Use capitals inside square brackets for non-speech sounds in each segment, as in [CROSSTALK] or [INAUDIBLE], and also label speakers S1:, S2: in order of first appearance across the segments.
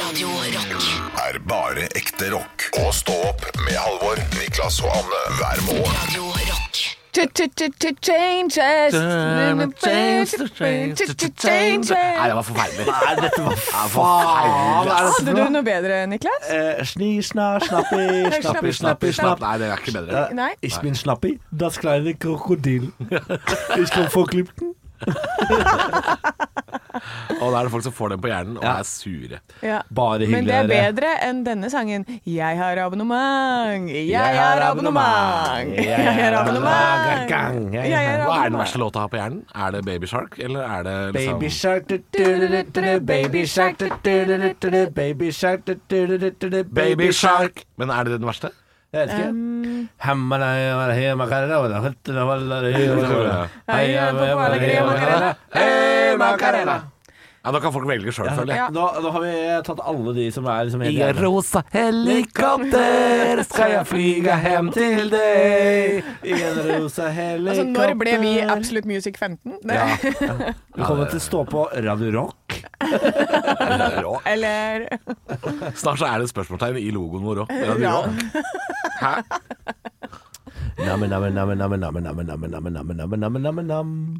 S1: Radio Rock.
S2: er bare ekte rock. Og stå opp med Halvor, Niklas og Anne hver morgen.
S1: Radio Rock.
S3: Changes
S4: Nei, det var forferdelig. Nei, dette var
S5: Hva er dette
S3: Hadde du
S5: for noe?
S3: noe bedre, Niklas?
S5: Eh, sni, sna,
S3: [LAUGHS]
S5: snappi, snappi, snappi, snapp.
S4: Nei, det er ikke bedre.
S5: Eh,
S3: Nei.
S5: Ich bin Snappi, das kleine Krokodil. [LAUGHS] Ich komme vor Klippen.
S4: Og da er det folk som får den på hjernen og
S5: Ja.
S4: er sure.
S3: Ja.
S5: Bare hyggelig,
S3: Men det er
S5: dere.
S3: bedre enn denne sangen. Jeg har abonnement, jeg
S5: Jeg
S3: har
S5: har
S3: abonnement,
S5: abonnement.
S3: jeg har
S5: Gang, gang,
S3: abonnement.
S5: gang.
S3: Jeg har
S4: Hva er den
S3: abonnement.
S4: verste låta å ha på hjernen? Er det Baby Shark, eller er det liksom
S5: Baby shark, du, du, du, du, du, du, baby shark, du, du, du, du, du, du, baby shark, du, du, du, du, du, du,
S4: Baby Shark! Men er det den verste?
S5: Jeg vet
S3: Um,
S5: ikke. Hemmene var hjemme, Macarena. Høttene var der hjemme.
S3: Heia, pappa, alle greier, Macarena.
S5: Hei, Macarena.
S4: Ja, Da kan folk velge sjøl, føler jeg.
S3: Ja.
S5: Nå, nå har vi tatt alle de som er liksom
S4: I rosa helikopter skal jeg flyge hjem til deg.
S5: I en rosa helikopter
S3: Altså, når ble vi Absolute Music 15? Det-
S4: Ja.
S5: Velkommen til Stå på Radio Rock.
S4: Rå.
S3: Eller
S4: Snart så er det et spørsmålstegn i logoen vår òg.
S3: Ja.
S4: Hæ?
S5: Namme, namme, namme, namme, namme, namme, namme, namme, namme, namme, namme, namme, nam.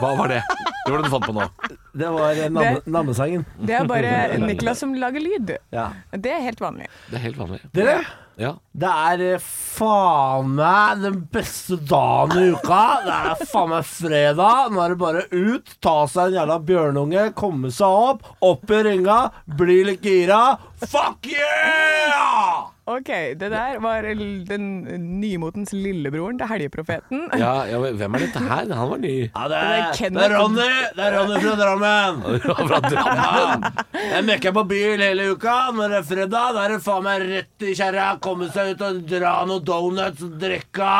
S4: Hva var det? Det var det du fant på nå.
S5: Det var eh, nam-
S3: Det-
S5: nammesangen.
S3: Det er
S5: [LAUGHS]
S3: bare Niklas som lager lyd.
S5: Ja.
S3: Det er helt vanlig.
S4: Det er helt vanlig.
S5: Dere,
S4: Ja.
S5: det er eh, faen meg den beste dagen i uka. Det er faen meg fredag. Nå er det bare ut, ta seg en jævla bjørnunge, komme seg opp, opp i ringa, bli litt gira. Fuck yeah!
S3: Ok, det der var l- den nymotens lillebroren til helgeprofeten.
S4: Ja, ja, men hvem er dette her? Han var ny.
S5: Ja, det
S3: Det
S5: er,
S3: er
S5: det
S3: Kenneth.
S5: er Ronny! Det er Ronny fra Drammen.
S4: Fra Drammen.
S5: Jeg møkker på bil hele uka. Når det er fredag, da er det faen meg rett i kjerra. Komme seg ut og dra noen donuts og drikke.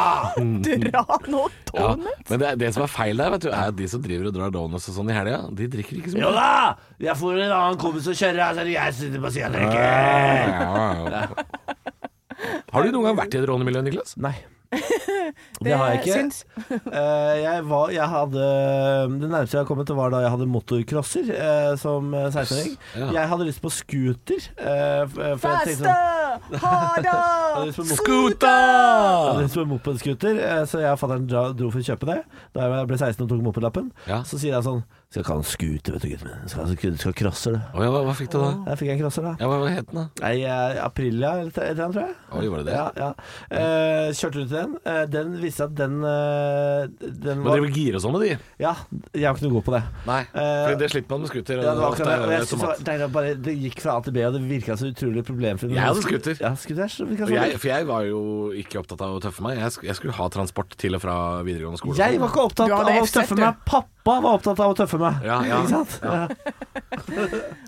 S3: Dra nå
S4: Ja,
S3: tåene!
S4: men det, det som er feil der, vet du, er at de som driver og drar donuts og sånn i helga, de drikker ikke så
S5: Jo
S4: mye.
S5: da! Jeg får en annen kompis og kjører, så er det jeg som sitter på sida og drikker.
S4: Ja. Har du noen gang vært i et rånemiljø, Niklas?
S5: Nei. Det har jeg ikke.
S3: Syns,
S5: Eh, jeg, var, jeg hadde Det nærmeste jeg har kommet, det var da jeg hadde motorcrosser eh, som eh, 16-åring.
S4: Ja.
S5: Jeg hadde lyst på scooter. eh, f- eh, for jeg
S3: Faste!
S5: tenkte sånn- Jeg
S3: Harda! [LAUGHS]
S5: hadde lyst på motor- Jeg hadde
S4: Scooter!
S5: lyst på en moped-scooter, eh, så jeg og fatter'n dra- dro for å kjøpe det. Da jeg ble 16 og tok mopedlappen,
S4: Ja.
S5: så sier jeg sånn Skal ikke ha en scooter, vet du, gutten min. Skal, skal, skal crosser, du.
S4: Å ja, hva, hva fikk du da?
S5: Der fikk jeg en crosser, da.
S4: Ja, hva, hva het den, da?
S5: Nei, eh, Aprilia eller et eller annet, tror jeg.
S4: Oi, var det det?
S5: Ja, ja. Eh, kjørte rundt i den. Eh, den viste at den eh,
S4: Man
S5: Den var
S4: driver gira sånn med de?
S5: Ja, jeg var ikke noe god på det.
S4: Nei,
S5: Eh,
S4: for det slipper man med scooter.
S5: Ja, det, var
S4: ofte
S5: akkurat,
S4: er
S5: det. Og jeg
S4: det
S5: synes det, var,
S4: automat.
S5: deilig å bare, det gikk fra A til B, og det virka så utrolig problemfritt.
S4: Jeg hadde scooter.
S5: Ja, scooter er så- virka
S4: Og
S5: så
S4: jeg, for jeg var jo ikke opptatt av å tøffe meg. Jeg, sk jeg skulle ha transport til og fra videregående skole.
S5: Jeg var ikke opptatt
S3: Du
S5: av
S3: hadde
S5: å
S3: F-sett,
S5: tøffe
S3: du.
S5: meg. Pappa var opptatt av å tøffe meg.
S4: Ja, ja.
S5: Ikke sant? Ja.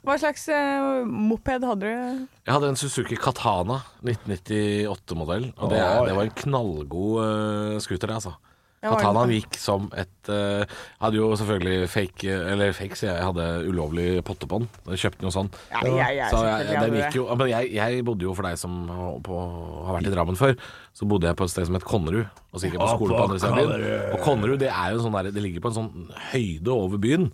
S3: Hva slags eh, moped hadde du?
S4: Jeg hadde en Suzuki Katana 1998-modell, og det, er,
S5: Oi.
S4: det var en knallgod uh, scooter, det, altså.
S3: Ja, var det
S4: Katanaen
S3: det?
S4: gikk som et eh, Hadde jo selvfølgelig fake eh, Eller fake, sier jeg. Jeg hadde ulovlig pottebånd. Jeg kjøpte noe sånt.
S3: Ja, jeg- jeg
S4: så
S3: selvfølgelig
S4: jeg, den
S3: hadde det.
S4: gikk jo Men jeg, jeg bodde jo, for deg som har, på, har vært i Drammen før, så bodde jeg på et sted som het Konnerud. Og så gikk jeg på
S5: Ja,
S4: skole på
S5: på
S4: andre siden av byen.
S5: Konnerud.
S4: Og Konnerud det er jo en sånn der, Det ligger på en sånn høyde over byen.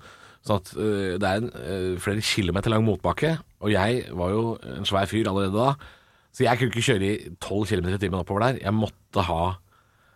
S4: Sånn at eh, det er en eh, flere kilometer lang motbakke. Og jeg var jo en svær fyr allerede da, så jeg kunne ikke kjøre i 12 km i timen oppover der. Jeg måtte ha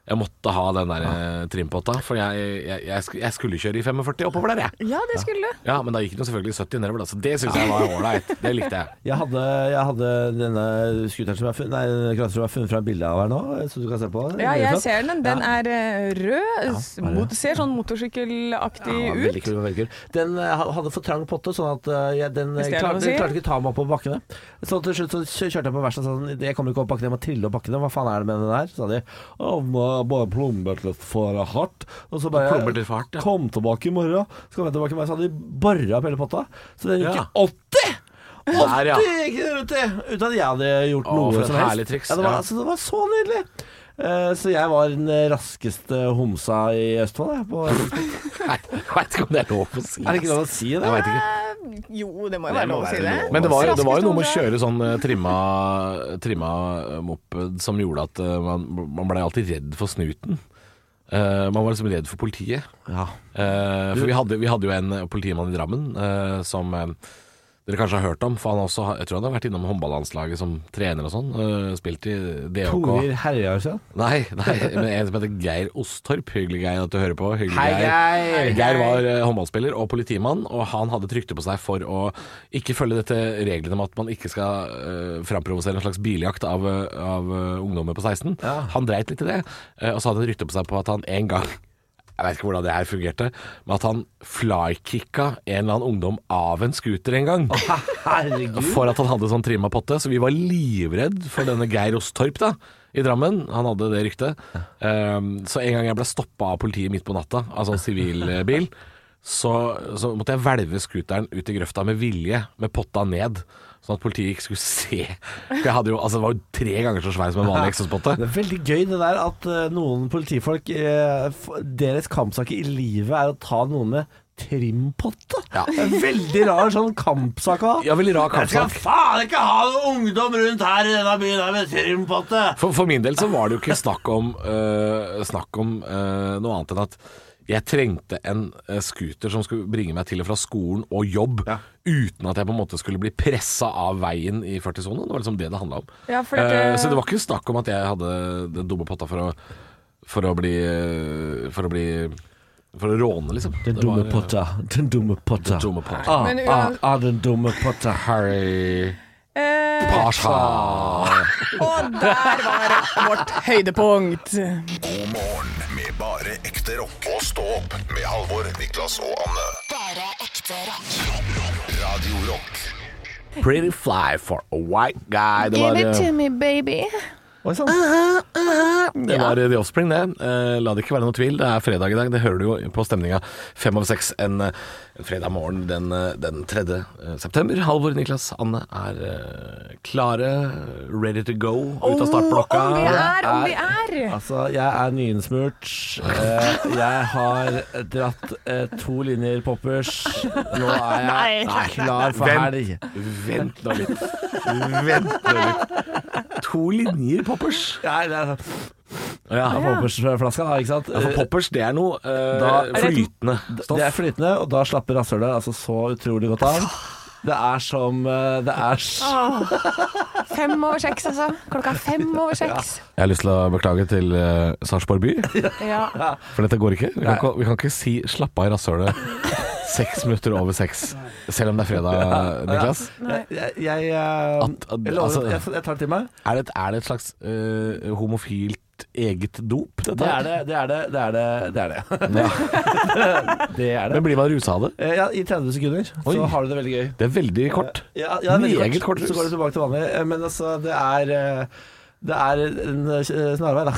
S4: jeg måtte ha den der eh, trimpotta, for jeg, jeg, jeg, sk- jeg skulle kjøre i 45 oppover der, jeg.
S3: Ja, det skulle du.
S4: Ja, men da gikk den jo selvfølgelig 70 nedover, da, så det syns jeg var ålreit. Det likte jeg.
S5: Jeg, hadde, jeg hadde denne scooteren som jeg har funnet, nei, denne klassen som jeg har funnet fra bilde av her nå, så du kan se på.
S3: Ja,
S5: Veldig
S3: jeg
S5: flott.
S3: ser den. Den
S5: Ja.
S3: er eh, rød. s-
S5: er det.
S3: mot- Ser sånn motorsykkelaktig
S5: Ja,
S3: ut.
S5: veldig kul, veldig kul. Den eh, ha- hadde for trang potte, sånn at eh, jeg, den eh,
S3: Hvis det er lov å
S5: klarte, den
S3: si.
S5: klarte ikke ta meg opp på bakkene. Så til slutt så kjø- kjørte jeg på verkstedet og sa sånn Jeg kommer ikke opp bakkene, jeg må trille opp bakkene. Hva faen er det med den her? Så sa de «Å, nå har jeg bare plombert litt for hardt. Og så bare
S4: Plomber litt for hardt, ja.
S5: Kom tilbake i morgen. Så kom jeg tilbake med, så hadde de bora opp hele potta. Så den gikk
S4: Ja.
S5: i 80! 80
S4: Der, ja.
S5: gikk den rundt i! Uten at jeg hadde
S4: Å,
S5: gjort
S4: for
S5: noe
S4: et
S5: som helst.
S4: herlig triks,
S5: Ja, det, var,
S4: ja.
S5: altså, det var så nydelig! Eh, så jeg var den raskeste homsa i Østfold, jeg.
S4: [LAUGHS]
S5: På
S4: Nei, jeg veit ikke om det er lov å si. altså.
S5: er det ikke lov å si det?
S4: Jeg vet ikke.
S3: Eh, Jo, det må jo være lov å si det.
S4: Men det var, jo- det var jo noe med å
S3: Raskest
S4: kjøre sånn eh, trimma, trimma eh, moped som gjorde at eh, man, man ble alltid redd for snuten. Eh, man var liksom redd for politiet.
S5: Ja.
S4: Eh, for vi hadde, vi hadde jo en politimann i Drammen eh, som eh, dere kanskje har hørt om. For han har også, har- jeg tror han har vært innom håndballandslaget som trener og sånn. øh, Spilt i DHK.
S5: Torir Herjarsen.
S4: Nei, nei, men en som heter Geir Ostorp. Hyggelig Geir at du hører på. Hyggelig
S5: Hei, Geir.
S4: Geir var eh, håndballspiller og politimann, og han hadde et rykte på seg for å ikke følge dette reglene om at man ikke skal eh, framprovosere en slags biljakt av, eh, av eh, ungdommer på 16. Han dreit litt i det, eh, og så hadde han et rykte på seg på at han en gang jeg vet ikke hvordan det her fungerte, men at han flykicka en eller annen ungdom av en scooter en gang.
S5: Herregud.
S4: For at han hadde sånn trimma potte. Så vi var livredd for denne Geir Ostorp da, i Drammen. Han hadde det ryktet. Ehm, så en gang jeg ble stoppa av politiet midt på natta, av sånn sivilbil, så, så måtte jeg hvelve scooteren ut i grøfta med vilje, med potta ned. Sånn at politiet ikke skulle se. For jeg hadde jo, altså, det var jo tre ganger så svær som en
S5: [LAUGHS]
S4: vanlig eksospotte.
S5: Det er veldig gøy det der at eh, noen politifolk eh, f- Deres kampsak i livet er å ta noen med trimpotte.
S4: Ja.
S5: Det er veldig rar sånn kampsak å ha.
S4: Ja, veldig rar
S5: Jeg skal
S4: kampsak.
S5: faen ikke ha noe ungdom rundt her i denne byen her med trimpotte!
S4: For, for min del så var det jo ikke snakk om, øh, snakk om øh, noe annet enn at jeg trengte en øh, scooter som skulle bringe meg til og fra skolen og jobb,
S5: Ja.
S4: uten at jeg på en måte skulle bli pressa av veien i 40-sonen. Det var liksom det det handla om.
S3: Ja, for det-
S4: Eh, så det var ikke snakk om at jeg hadde den dumme potta for å, for å bli øh, For å bli For å råne, liksom.
S5: Den
S4: Det var,
S5: dumme
S4: øh,
S5: potta, den dumme potta.
S4: dumme potta.
S5: Ah,
S3: Men
S5: ah,
S3: uan-
S5: ah, den dumme potta.
S4: Harry
S3: Eh,
S4: Pasha.
S3: og der var vårt høydepunkt.
S2: God morgen med bare ekte rock. Og stå opp med Halvor, Niklas og Anne.
S1: Bare ekte rock.
S2: Radio Rock
S4: Pretty fly for a white guy. Det var, øh,
S1: me, baby.
S5: Oi sann.
S4: Eh, Det var The Offspring, det. Eh, La det ikke være noe tvil. Det er fredag i dag. Det hører du jo på stemninga fem over seks en eh, en fredag morgen den, eh, den 3. eh, september. Halvor, Niklas, Anne er eh, klare, ready to go, ut av startblokka.
S3: Om vi er, om vi er!
S5: Altså, jeg er nyinsmurt. Eh, jeg har dratt eh, to linjer poppers. Nå er jeg klar for
S4: Vent.
S5: helg.
S4: Vent nå litt. Vent nå litt. To linjer poppers.
S5: Ja, det er sånn.
S4: Ja,
S5: Ja, Poppersflaska, da, ikke sant?
S4: for poppers, det er noe eh,
S5: Da-
S4: flytende
S5: Det
S4: stoff.
S5: er flytende, og da slapper rasshølet altså så utrolig godt av. Det er som eh, Det er s-
S3: Fem over seks, altså. Klokka er fem over seks.
S4: Jeg har lyst til å beklage til uh, Sarpsborg by.
S3: Ja.
S4: For dette går ikke. Vi kan, ikke- vi kan ikke si 'slapp av i [LAUGHS] rasshølet' seks minutter over seks, selv om det er fredag, Niklas.
S5: Jeg, jeg, jeg, eh,
S4: At- at-
S5: jeg lover,
S4: altså-
S5: jeg, jeg tar det til meg.
S4: Er det et, er det et slags øh, homofilt eget dop, dette?
S5: Det
S4: her?
S5: er det, det er det, det er det. Det er det.
S4: [LAUGHS] Ja.
S5: [LAUGHS] det, er
S4: Men
S5: det.
S4: blir man rusa av det?
S5: Eh, Ja, I 30 sekunder
S4: Oi.
S5: så har du det veldig gøy.
S4: Det er veldig kort.
S5: Ja, ja, veldig
S4: Meget
S5: kort.
S4: kort rus.
S5: Så går det tilbake til vanlig. Eh, Men altså, det er eh, Det er en eh, snarvei, da.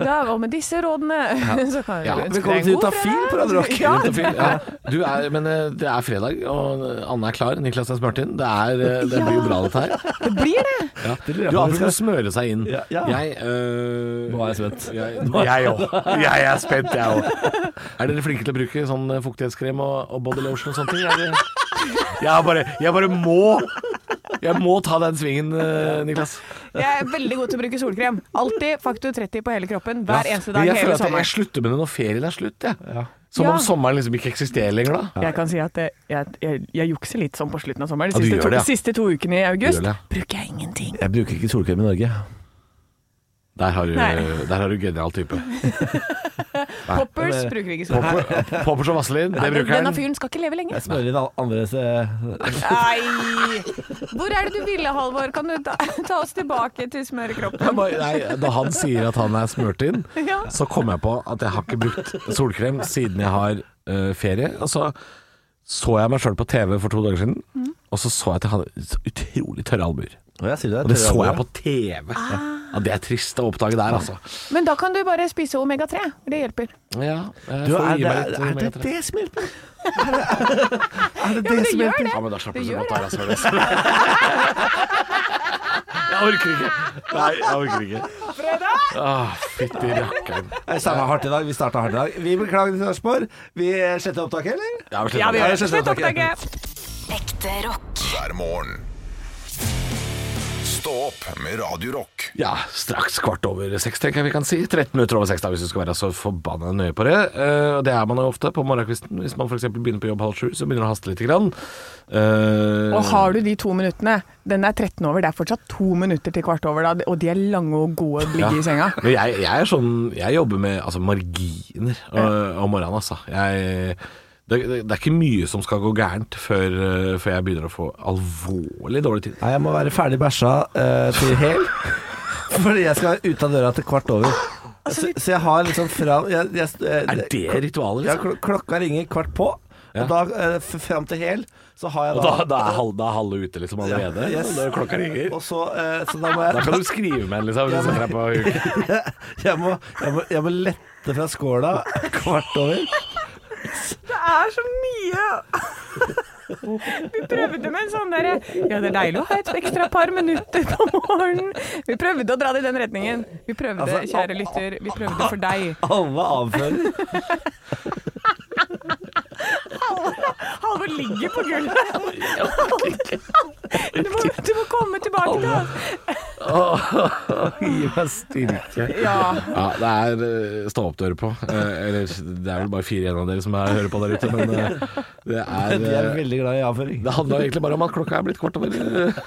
S3: Da, og med disse rådene [LAUGHS] så kan
S4: Ja,
S3: vi ønske
S5: velkommen
S3: deg en
S5: til
S3: god
S5: Utafil på
S3: fredag.
S5: Radio Rock.
S3: Ja,
S4: Ja, du er, men øh, det er fredag, og Anne er klar. Niklas er smurt inn. Det, er, øh, det blir jo bra, dette her.
S3: det blir det.
S4: Ja.
S5: jeg
S4: Du
S5: på vi
S4: avbryter å smøre seg inn.
S5: Ja, ja.
S4: Jeg øh,
S5: Nå er jeg spent.
S4: Jeg jeg òg. Jeg er spent, jeg òg. [LAUGHS] Er dere flinke til å bruke sånn fuktighetskrem og, og body lotion og sånne ting? Er dere- [LAUGHS] Jeg bare, jeg bare må Jeg må ta den svingen, eh, Niklas.
S3: Jeg er veldig god til å bruke solkrem. Alltid Faktor 30 på hele kroppen hver eneste
S4: Men
S3: dag
S4: jeg
S3: hele
S4: føler at jeg, jeg
S3: sommeren.
S4: slutter med det når ferien er slutt. Jeg. Som
S3: Ja.
S4: om sommeren liksom ikke eksisterer lenger, da.
S3: Jeg kan si at jeg, jeg, jeg, jeg jukser litt sånn på slutten av sommeren.
S4: Ja,
S3: De
S4: du
S3: siste,
S4: gjør
S3: to,
S4: det, ja.
S3: siste to ukene i august
S4: Du gjør det.
S3: bruker jeg ingenting.
S5: Jeg bruker ikke solkrem i Norge.
S4: Der har du, øh,
S3: Nei.
S4: der har du genial type.
S3: Poppers bruker ikke solkrem.
S4: Popper, poppers og vaselin, det bruker
S3: Denne
S4: han.
S3: fyren skal ikke leve lenge.
S5: Jeg smører inn andres eh,
S3: Nei! Hvor er det du ville, Halvor? Kan du ta, [LAUGHS] ta oss tilbake til
S4: Jeg
S3: smørekroppen?
S4: bare- Nei, da han sier at han er smurt inn,
S3: Ja.
S4: så kom jeg på at jeg har ikke brukt solkrem siden jeg har eh, ferie. Og så så jeg meg sjøl på TV for to dager siden,
S3: Mm.
S4: og så så jeg at jeg hadde så utrolig tørre albuer.
S5: Og jeg sier det,
S4: Og det så
S5: tørre
S4: jeg
S5: albuer.
S4: på TV.
S3: Ah.
S4: Ja, det er trist å oppdage der, altså.
S3: Men da kan du bare spise omega-3. Det hjelper.
S4: Ja, jeg
S5: du,
S4: får
S5: er,
S4: gi
S5: det,
S4: meg
S5: er,
S4: litt
S5: er det
S4: omega-3.
S5: det som hjelper? Er det er det,
S3: men
S5: det
S3: det
S5: som
S3: gjør
S5: hjelper?
S3: det.
S4: Ja, men da slapper
S3: Det
S4: du så
S3: gjør
S4: godt av deg, Søren. Jeg orker ikke. Nei, jeg orker ikke.
S3: Fredag!
S4: Åh, fytti rakkeren.
S5: Jeg starta hardt i dag. Vi starta hardt i dag. Vi beklager til Sarpsborg. Vi sletter opptaket, eller?
S4: Ja, men slutt.
S3: Ja, vi gjør det.
S5: Slutt
S3: Slutt
S5: å snakke.
S3: opptaket.
S1: Ekte rock.
S2: hver morgen. Stå opp med Radio Rock.
S4: Ja, straks kvart over seks, tenker jeg vi kan si. 13 minutter over seks, da, hvis du skal være så forbanna nøye på det. Eh, Og det er man jo ofte på morgenkvisten. Hvis man f.eks. begynner på jobb halv sju, så begynner det å haste lite grann. Eh,
S3: Og har du de to minuttene Den er 13 over, det er fortsatt to minutter til kvart over, da, og de er lange og gode å ligge i senga.
S4: [LAUGHS] Men jeg, jeg er sånn Jeg jobber med altså, marginer øh, om morgenen, altså. Jeg, det, det, det er ikke mye som skal gå gærent før, øh, før jeg begynner å få alvorlig dårlig tid.
S5: Nei, jeg må være ferdig bæsja eh, til hel. Fordi jeg skal ut av døra til kvart over. Så, så jeg har liksom fra jeg, jeg,
S4: Altså, Er det ritualet,
S5: Ja,
S4: liksom?
S5: kl klokka ringer kvart på,
S4: Ja.
S5: og da eh, f- fram til hel, så har jeg
S4: Og
S5: da,
S4: da, da, er halv, da er halve ute liksom allerede?
S5: Ja, yes.
S4: Når klokka ringer?
S5: Og så, eh, så da må
S4: Da
S5: jeg
S4: kan du skrive med en, liksom. Hvis du setter deg
S3: [LAUGHS]
S4: på huk.
S5: jeg, må, jeg, må, jeg må lette fra skåla kvart over.
S3: Det er så mye! Vi prøvde med en sånn derre Ja, det er deilig å ha et ekstra par minutter på morgenen. Vi prøvde å dra det i den retningen. Vi prøvde,
S5: Altså,
S3: kjære lytter. Vi prøvde for deg.
S5: Alle [LAUGHS] avfører.
S3: Halvor ligger på gulvet. [LAUGHS] Du må, du må komme tilbake til oss.
S4: Gi meg styrke.
S3: Ja.
S4: Ja, det er øh, stå opp du hører på. Eh, Eller det er vel bare fire igjen av dere som er, hører på der ute, men øh, det er,
S5: [LAUGHS] De er
S4: øh,
S5: veldig glad i avføring.
S4: Det handla egentlig bare om at klokka er blitt kvart over øh, [LAUGHS]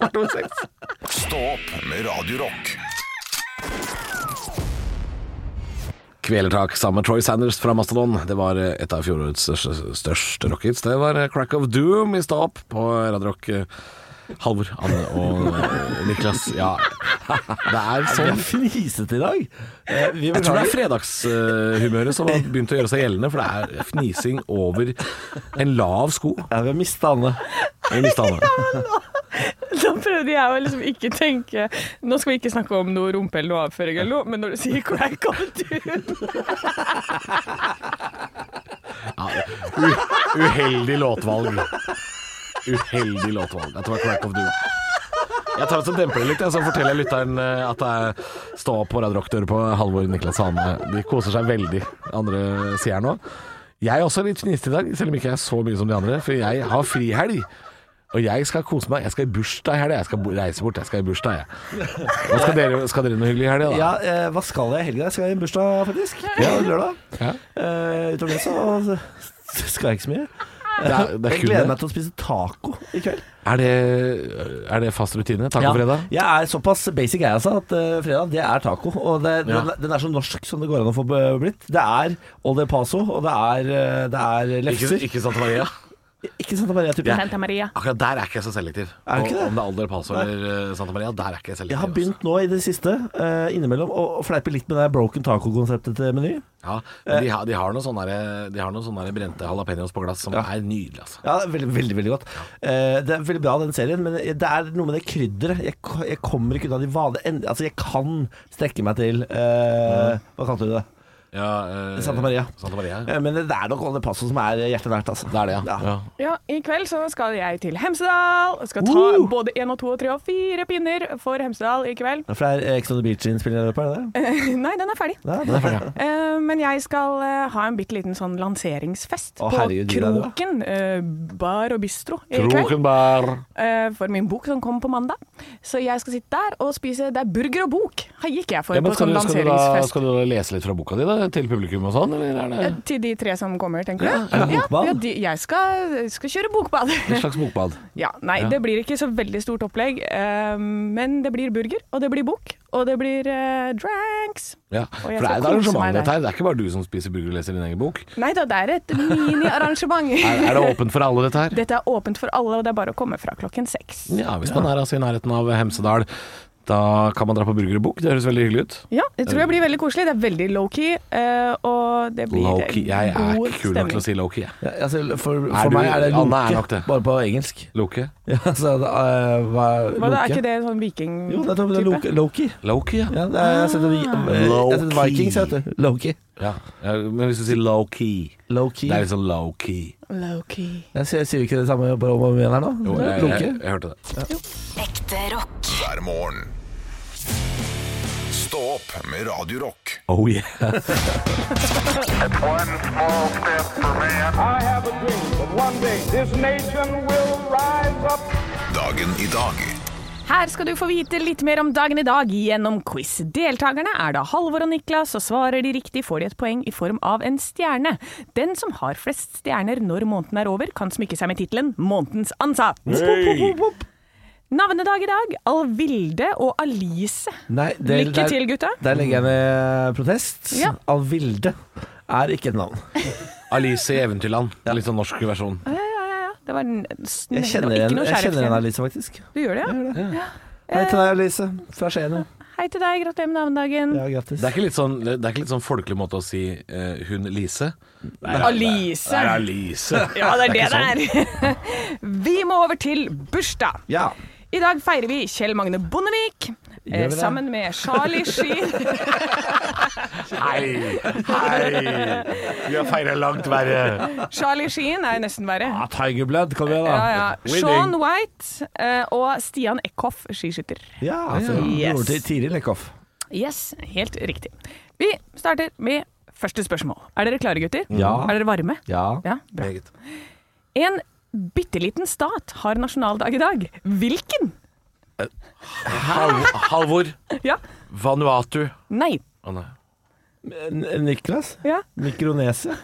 S4: Kvart over seks.
S2: Stå opp med Radio Rock.
S4: Kvelertak sammen med Troy Sanders fra Mastodon. Det var eh, et av fjorårets største- største rockets. Det var eh, Crack of Doom i stad opp på Radio Rock. eh, Halvor, Anne og eh, Niklas. Ja, [LAUGHS] det er
S5: Vi
S4: sånn.
S5: er fnisete i dag. Eh, vi
S4: Jeg tror det er
S5: beklager.
S4: fredagshumøret som har begynt å gjøre seg gjeldende, for det er fnising over en lav sko.
S5: Ja, vi har mista Anne.
S4: Jeg mistet Anne.
S3: Da prøvde jeg å liksom ikke tenke Nå skal vi ikke snakke om noe rumpe eller noe avføring eller noe, men når du sier crack of doom
S4: Ja, u- uheldig låtvalg. Uheldig låtvalg. Dette var Crack of Doom. Jeg tar og demper det litt, jeg, så forteller jeg lytteren eh, at det er stå opp på Radio Rock dører på Halvor Niklas Hane. De koser seg veldig, andre sier nå. Jeg er også litt fniste i dag, selv om ikke jeg er så mye som de andre, for jeg har frihelg. Og jeg skal kose meg. Jeg skal i bursdag i helga. Jeg skal bo- reise bort. Jeg skal i bursdag, jeg. Hva skal dere, skal dere noe hyggelig i helga, da?
S5: Ja, eh, hva skal jeg i helga? Jeg skal i en bursdag, faktisk. Ja, lørdag.
S4: Ja.
S5: Eh, Utover det så så skal jeg ikke så mye.
S4: Det er, det er
S5: Jeg
S4: kun
S5: gleder meg
S4: det.
S5: til å spise taco i kveld.
S4: Er det, er det fast rutine? Takk for fredag?
S5: Jeg er såpass basic jeg, altså, at eh, fredag det er taco. Og det,
S4: Ja.
S5: den, den er så norsk som det går an å få b- blitt. Det er Old El Paso, og det er, eh, det er lefser. Ikke,
S4: ikke Santa Maria?
S5: sant, det er bare jeg typen.
S3: Santa Maria.
S4: Akkurat der er ikke jeg så selektiv.
S5: Er du
S4: Og
S5: ikke det?
S4: Om det er Alder Paso eller eh, Santa Maria, der er ikke jeg selektiv.
S5: Jeg har
S4: altså.
S5: begynt nå i det siste, eh, innimellom, å å fleipe litt med det broken taco-konseptet til Meny.
S4: Ja, men
S5: Eh.
S4: de, har, de har noen sånne, der- eh, de har noen sånne der brente jalapeños på glass som er nydelig, altså.
S5: Ja, det er veldig, veldig veldig godt. Eh, det er veldig bra, den serien, men det er noe med det krydderet. Jeg, ko- jeg kommer ikke unna de vanlige en- Altså, jeg kan strekke meg til eh, Hva kalte du det?
S4: Ja, eh,
S5: Santa Maria.
S4: Santa Maria.
S5: Eh, men det er nok Old El Paso som er hjertet nært, altså.
S4: Det er det, ja. ja.
S3: Ja, I kveld så skal jeg til Hemsedal. Jeg skal ta
S5: Woo!
S3: både én og to og tre og fire pinner for Hemsedal i kveld. [LAUGHS]
S5: For det er Ex on the Beach-innspilling i løpet, er det det?
S3: Nei, den er ferdig.
S5: Ja, det er
S4: ferdig,
S3: Eh, men jeg skal eh, ha en bitte liten sånn lanseringsfest
S5: Å,
S3: på
S5: herregud, det er bra.
S3: Kroken eh, bar og bistro i kveld.
S4: Krokenbær.
S3: eh, for min bok som kom på mandag. Så jeg skal sitte der og spise Det er burger og bok her gikk jeg for
S4: Ja, men
S3: på
S4: skal,
S3: sånn
S4: du, skal, du da,
S3: lanseringsfest.
S4: skal du da lese litt fra boka di da, til publikum og sånn, eller er det
S3: Eh, Til de tre som kommer, tenker
S4: Ja,
S3: du?
S5: er det bokbad?
S3: de, jeg skal, skal kjøre bokbad.
S4: en slags bokbad?
S3: ja, nei,
S4: Ja.
S3: det blir ikke så veldig stort opplegg. eh, men det blir burger, og det blir bok, og det blir eh, dranks.
S4: Ja,
S3: Og
S4: for
S3: jeg
S4: det
S3: skal kose
S4: er et
S3: meg
S4: arrangement
S3: der.
S4: dette her. Det er ikke bare du som spiser burger og leser din egen bok.
S3: Nei da, det er et
S4: [LAUGHS]
S3: miniarrangement.
S4: Er, er det åpent for alle, dette her?
S3: Dette er åpent for alle, og det er bare å komme fra klokken seks.
S4: Ja, hvis man er altså i nærheten av Hemsedal, da kan man dra på burger og bok. Det høres veldig hyggelig ut.
S3: Ja, jeg tror det blir veldig koselig. Det er veldig low-key, eh, og det blir
S4: Low-key. Jeg er
S3: god
S4: ikke kul nok til å si low-key. jeg.
S5: Ja, altså, for
S4: Er
S5: for
S4: du-
S5: meg er det
S4: Anne
S5: loke,
S4: er nok det.
S5: bare på engelsk. [LAUGHS]
S4: Loke?
S5: Ja, altså, det er- hva er
S3: Hva, da, er
S5: loke?
S3: ikke det sånn viking
S5: Jo, det er, det er loke, Loki.
S4: Loki, ja.
S5: Ja, det er, jeg setter, jeg setter
S4: Loki.
S5: Vikings, jeg vet du. Loki.
S4: ja. ja. Men hvis du sier low-key
S5: Loki.
S4: Det er liksom low-key.
S3: Low-key.
S5: Jeg sier, sier vi ikke det samme bare om og om igjen her nå?
S4: Jo, jeg, jeg, jeg,
S5: Loki.
S4: hørte det.
S1: Ekte rock.
S2: hver morgen. Stå opp med Radio Rock.
S4: Oh yeah. [LAUGHS]
S6: One small step for man.
S7: I have a dream that one day this nation will rise up.
S2: Dagen i dag.
S3: Her skal du få vite litt mer om dagen i dag gjennom quiz. Deltakerne er da Halvor og Niklas, og svarer de riktig får de et poeng i form av en stjerne. Den som har flest stjerner når måneden er over, kan smykke seg med tittelen 'Månedens ansatt'. Navnedag i dag Alvilde og Alice.
S5: Nei, det-
S3: Lykke
S5: der-
S3: til, gutta.
S5: Der legger jeg ned eh, protest.
S3: Ja.
S5: Alvilde er ikke et navn.
S4: Alice i Eventyrland. Litt sånn norsk versjon.
S3: Ja, ja, ja, ja. Det var, en- s- det
S5: Jeg
S3: var
S5: kjenner
S3: ikke
S5: en,
S3: noe Eh.
S5: jeg kjenner en
S3: kjærlighetstegn.
S5: Alice, faktisk.
S3: Du gjør det, ja?
S5: Jeg gjør det. Hei til deg, Alice. Fra Skien. jo.
S3: Hei til deg, gratulerer med navnedagen.
S5: Ja, grattis.
S4: Det er ikke litt sånn, det er ikke litt sånn folkelig måte å si eh, hun Lise. Nei,
S3: Alice.
S4: Det er Alice.
S3: Ja, det er det
S4: ikke sånn.
S3: det er. [LAUGHS] Vi må over til bursdag.
S5: Ja.
S3: I dag feirer vi Kjell Magne Bondevik
S5: Gjør vi
S3: eh,
S5: det?
S3: sammen med Charlie Sheen.
S5: [LAUGHS]
S7: Hei, hei. Vi har feira langt verre.
S3: Charlie Sheen er jo nesten verre.
S5: Ja, Tiger Blood, kom igjen, da.
S3: Ja, ja. Sean White eh, og Stian Eckhoff, skiskytter.
S5: Ja, altså,
S3: Yes.
S5: broren til Tiril Lekhoff.
S3: Yes, helt riktig. Vi starter med første spørsmål. Er dere klare, gutter?
S5: Ja.
S3: Er dere varme?
S5: Ja.
S3: Ja, bra. En bitte liten stat har nasjonaldag i dag. Hvilken?
S4: Hal Halvor
S3: Ja.
S4: Vanuatu.
S3: Nei.
S4: Å, nei.
S5: N- Niklas?
S3: Ja.
S5: Mikronesia?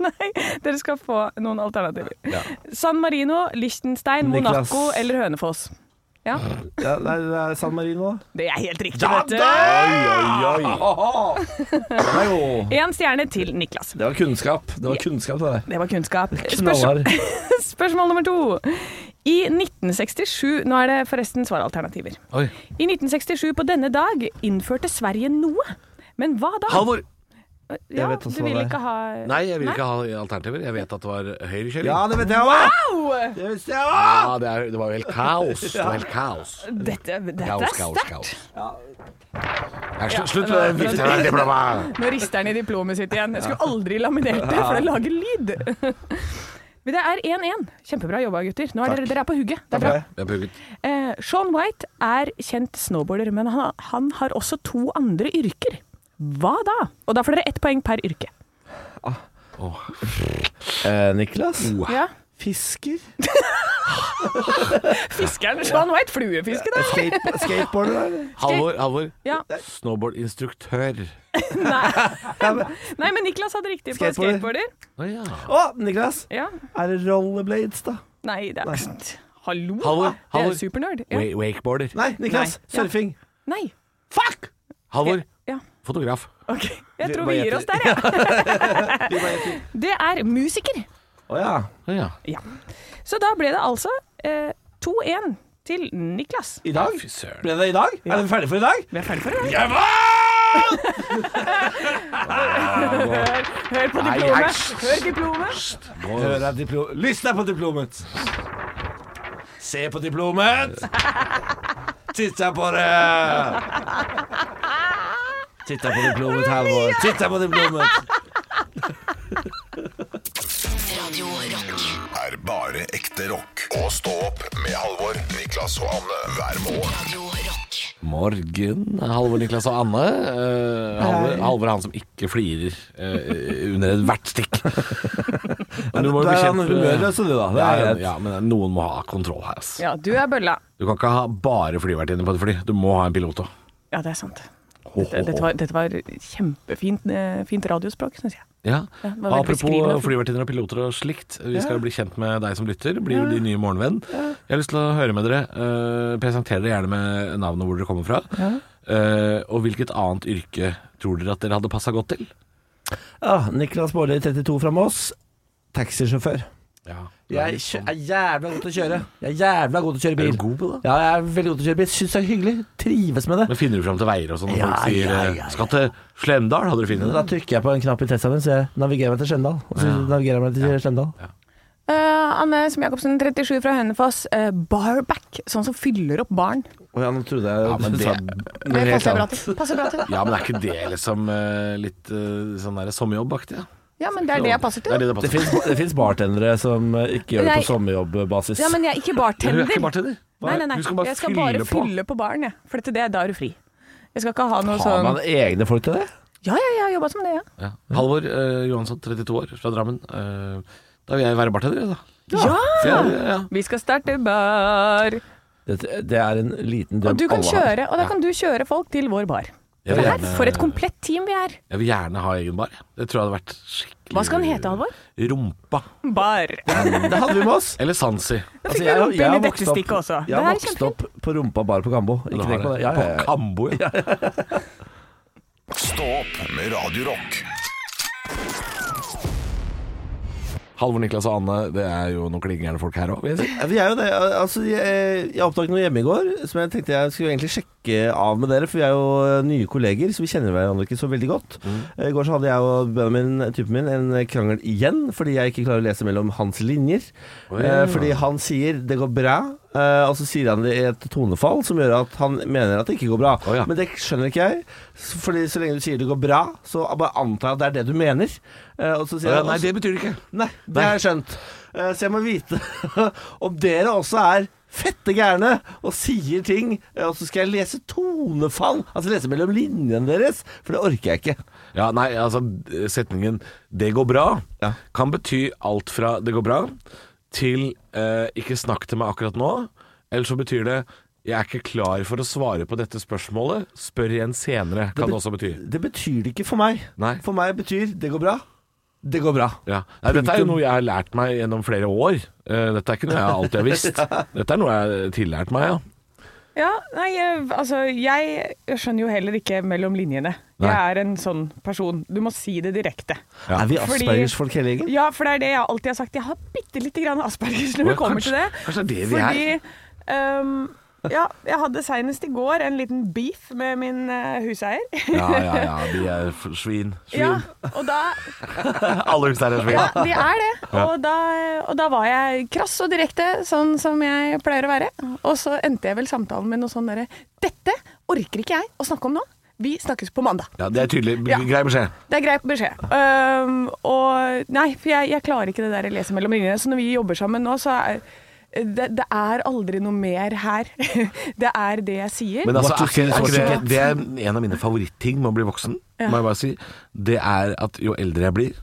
S3: Nei, dere skal få noen alternativer.
S4: Ja.
S3: San Marino, Liechtenstein,
S5: Niklas.
S3: Monaco eller Hønefoss? Ja,
S5: Ja, det er- det er San Marino, da.
S3: det er helt riktig, vet du.
S5: [LAUGHS] Nei, jo.
S3: Én stjerne til Niklas.
S5: Det var kunnskap. Det var kunnskap, det der.
S3: Det var kunnskap. Spørsmål,
S5: Knallhard.
S3: spørsmål nummer to. I 1967 Nå er det forresten svaralternativer.
S4: Oi.
S3: I 1967 på denne dag innførte Sverige noe. Men hva da?
S4: Halvor!
S3: Ja,
S5: Jeg vet også
S3: du vil
S5: hva det er.
S3: ikke ha
S4: Nei, jeg vil ikke ha alternativer. Jeg vet at det var høyrekjøring.
S5: Ja, det vet jeg òg! Det visste jeg òg!
S4: Ja, det, er, det var jo helt kaos. Det var helt kaos.
S3: Dette, dette er
S4: Kaos, kaos,
S3: sterkt.
S4: kaos. Ja, slutt, slutt med det viktige diplomatet.
S3: Nå rister han i diplomet sitt igjen. Jeg skulle aldri laminert det, for det lager lyd. [LAUGHS] Men det er 1-1. Kjempebra jobba, gutter. Nå er dere, dere er på hugget. Det er bra.
S4: Jeg pugget.
S3: Eh, Sean White er kjent snowboarder, men han, han har også to andre yrker. Hva da? Og da får dere ett poeng per yrke.
S5: Eh, Niklas?
S3: Ja.
S5: Fisker?
S3: Fiskeren Sean White, fluefiske, da.
S5: Skate, skateboarder, eller?
S4: Halvor, Halvor.
S3: [LAUGHS] Ja.
S4: Snowboardinstruktør.
S3: [LAUGHS] Nei, men Niklas hadde riktig på
S5: Skateboarder.
S3: skateboarder.
S4: Å ja.
S5: Å, Niklas!
S3: Ja.
S5: Er det rollerblades, da?
S3: Nei, det er ikke Hallo,
S4: Halvor,
S3: da. Det
S4: Halvor.
S3: er supernerd. Ja.
S4: Wa- Wakeboarder.
S5: Nei, Niklas.
S3: Nei. Ja.
S5: Surfing.
S3: Nei.
S5: Fuck!
S4: Halvor,
S3: Ja.
S4: fotograf.
S3: Ok, jeg tror
S5: bare
S3: vi gir
S5: gjetter.
S3: oss der, jeg. Ja. Det er musiker.
S5: Å ja.
S4: Å ja.
S3: Ja. Så da ble det altså eh, 2-1 til Niklas.
S5: I dag?
S4: Fy søren.
S5: Ble det i dag? Er vi ferdige for i dag?
S3: Vi er ferdig for i dag.
S4: Jeg vant!
S3: [LAUGHS] Hør, hør på
S4: Nei,
S3: diplomet.
S4: hei,
S3: Hør diplomet.
S5: Hør er diplo- Lyst er på diplomet. Se på diplomet. Titt deg på det. Titt deg på diplomet, Halvor. Titt deg på diplomet.
S1: Radio Rock.
S2: er bare ekte rock. Og stå opp med Halvor, Niklas og Anne hver morgen.
S1: Radio Rock.
S4: Morgen. Halvor, Niklas og Anne. Eh, Halvor, Halvor er han som ikke flirer eh, under ethvert stikk. Men du må jo
S5: Du er han
S4: bekjempe-
S5: humørløs, du, da. Det er
S4: Ja,
S5: greit.
S4: ja, men noen må ha kontroll her. ass.
S3: Ja, du er bølla.
S4: Du kan ikke ha bare flyvertinne på et fly. Du må ha en pilot òg.
S3: Ja, det er sant. Dette, dette, var, dette var kjempefint eh, fint radiospråk, syns jeg.
S4: Ja.
S3: Ja, det var veldig beskrivende.
S4: Apropos flyvertinner og piloter og slikt. Vi skal jo bli kjent med deg som lytter. Blir jo din nye morgenvenn. Jeg har lyst til å høre med dere. Eh, presentere dere gjerne med navnet og hvor dere kommer fra. Eh, og hvilket annet yrke tror dere at dere hadde passa godt til?
S5: Ja, Niklas Baarli, 32 fra Moss. Taxisjåfør.
S4: Ja, det er
S5: Jeg
S4: litt
S5: kjø-
S4: sånn-
S5: er jævla god til å kjøre. Jeg er jævla god til å kjøre
S4: Er
S5: bil.
S4: du god på det?
S5: Ja, jeg er veldig god til å kjøre bil. Syns det er hyggelig. Trives med det.
S4: Men finner du fram til veier og sånn? Når
S5: Ja,
S4: folk sier
S5: ja,
S4: eh,
S5: ja, ja.
S4: 'skal til Slemdal', hadde du funnet
S5: Da
S4: det?
S5: trykker jeg på en knapp i Teslaen min, så jeg navigerer meg til Skjendal. Og så navigerer jeg meg til Skjendal.
S3: Eh, Anne Sem Jacobsen, 37 fra Hønefoss. eh, barback, sånn som fyller opp barn.
S5: Å ja, nå trodde jeg
S4: Ja, men
S5: du
S4: det-
S5: sa noe helt
S3: passer bra
S5: annet.
S3: til. Passer bra til.
S4: Ja, men er ikke det liksom eh, litt eh, sånn der sommerjobbaktig? Ja?
S3: Ja, men det er det jeg passer
S4: Det er
S3: til.
S4: det det
S5: Det
S4: passer.
S5: fins- Det fins bartendere som eh, ikke gjør det
S3: Nei.
S5: på sommerjobbbasis.
S3: Ja, men jeg er ikke
S4: Hun
S3: bartender.
S4: er ikke bartender.
S3: Nei, nei, nei.
S4: Hun skal bare
S3: jeg skal bare
S4: fylle
S3: fylle
S4: på.
S3: på, barn, jeg. For dette, det, da er du fri. Jeg skal ikke ha noe
S5: Har
S3: sånn
S5: man egne folk til det?
S3: Ja, ja, jeg har jobba som det, ja.
S4: Ja. Halvor eh, Johansson, 32 år, fra Drammen. Eh, da vil jeg være bartender, jeg, da.
S3: Ja!
S4: Ja, ja, ja.
S3: Vi skal starte bar.
S5: Dette, det er en liten drøm
S3: Og du kan
S5: alle har.
S3: kjøre, og da kan du kjøre folk til vår bar.
S4: Jeg vil,
S3: Her,
S4: gjerne,
S3: for et komplett team vi er.
S4: jeg vil gjerne ha egen bar. jeg. Det tror jeg hadde vært skikkelig
S3: Hva skal den hete, Halvor?
S4: Rumpa.
S3: Bar.
S5: Det hadde vi med oss.
S4: Eller Sansi.
S5: Altså,
S3: fikk rumpe inn i
S5: har
S3: dette
S5: vokst opp-
S3: stikket også.
S5: Jeg har
S3: Det er
S5: vokst opp på rumpa bar på Gambo. Ikke tenk på det. Ja, ja,
S4: På
S5: ja.
S4: Kambo, ja.
S2: Stå opp med Radio Rock.
S4: Halvor, Niklas og Anne, det er jo noen klingende folk her òg.
S5: Ja, Vi er jo det. Altså, jeg, jeg oppdaget noe hjemme i går som jeg tenkte jeg skulle egentlig sjekke av med dere. For vi er jo eh, nye kolleger, så vi kjenner hverandre ikke så veldig godt.
S4: Mm.
S5: Eh, I går så hadde jeg og Benjamin, typen min, en eh, krangel igjen fordi jeg ikke klarer å lese mellom hans linjer. Eh, Fordi han sier 'det går bra', eh, og så sier han det i et tonefall som gjør at han mener at det ikke går bra.
S4: Å, ja.
S5: Men det skjønner ikke jeg. s- Fordi så lenge du sier det går bra, så bare antar jeg at det er det du mener. Eh, Og så sier han
S4: Nei, det betyr det ikke.
S5: Nei, det har jeg skjønt. Eh, Så jeg må vite [LAUGHS] om dere også er fette gærne og sier ting, eh, og så skal jeg lese tonefall, altså lese mellom linjene deres, for det orker jeg ikke.
S4: Ja, nei, altså setningen 'det går bra'
S5: Ja.
S4: kan bety alt fra 'det går bra' til eh, 'ikke snakk til meg akkurat nå'. Eller så betyr det 'jeg er ikke klar for å svare på dette spørsmålet', spør igjen senere, kan det også bety.
S5: Det betyr det ikke for meg.
S4: Nei.
S5: For meg betyr det går bra. Det går bra.
S4: Ja. Nei, dette er jo noe jeg har lært meg gjennom flere år. Eh, Dette er ikke noe jeg alltid har [LAUGHS] visst. Dette er noe jeg har tillært meg, ja.
S3: Ja, nei, eh, altså jeg skjønner jo heller ikke mellom linjene. Jeg
S4: Nei.
S3: er en sånn person. Du må si det direkte.
S4: Ja.
S5: Er vi
S3: Fordi-
S5: Aspergers-folk hele gjengen?
S3: Ja, for det er det jeg alltid har sagt. Jeg har bitte lite grann aspergers når
S4: Å,
S3: det kommer
S4: kanskje-
S3: til det.
S4: kanskje det er det vi
S3: Fordi, ehm, ja, jeg hadde seinest i går en liten beef med min eh, huseier.
S4: Ja, ja, ja. De er f- svin. Svin. [LAUGHS]
S3: Ja, og da
S7: Alle huseiere er svin.
S3: Ja, de er det. Og da, og da var jeg krass og direkte, sånn som jeg pleier å være. Og så endte jeg vel samtalen med noe sånn derre Dette orker ikke jeg å snakke om nå. Vi snakkes på mandag.
S4: Ja, det er tydelig.
S3: Ja.
S4: Grei beskjed.
S3: Det er grei beskjed. Øhm, og nei, for jeg, jeg klarer ikke det der jeg leser mellom linjene. Så når vi jobber sammen nå, så er det, det er aldri noe mer her. [LAUGHS] det er det jeg sier.
S4: Men altså,
S5: What you
S4: er ikke, er
S5: see is what
S4: ikke
S5: you
S4: det, det er en av mine favoritting med å bli voksen, må jeg bare si. Det er at jo eldre jeg blir,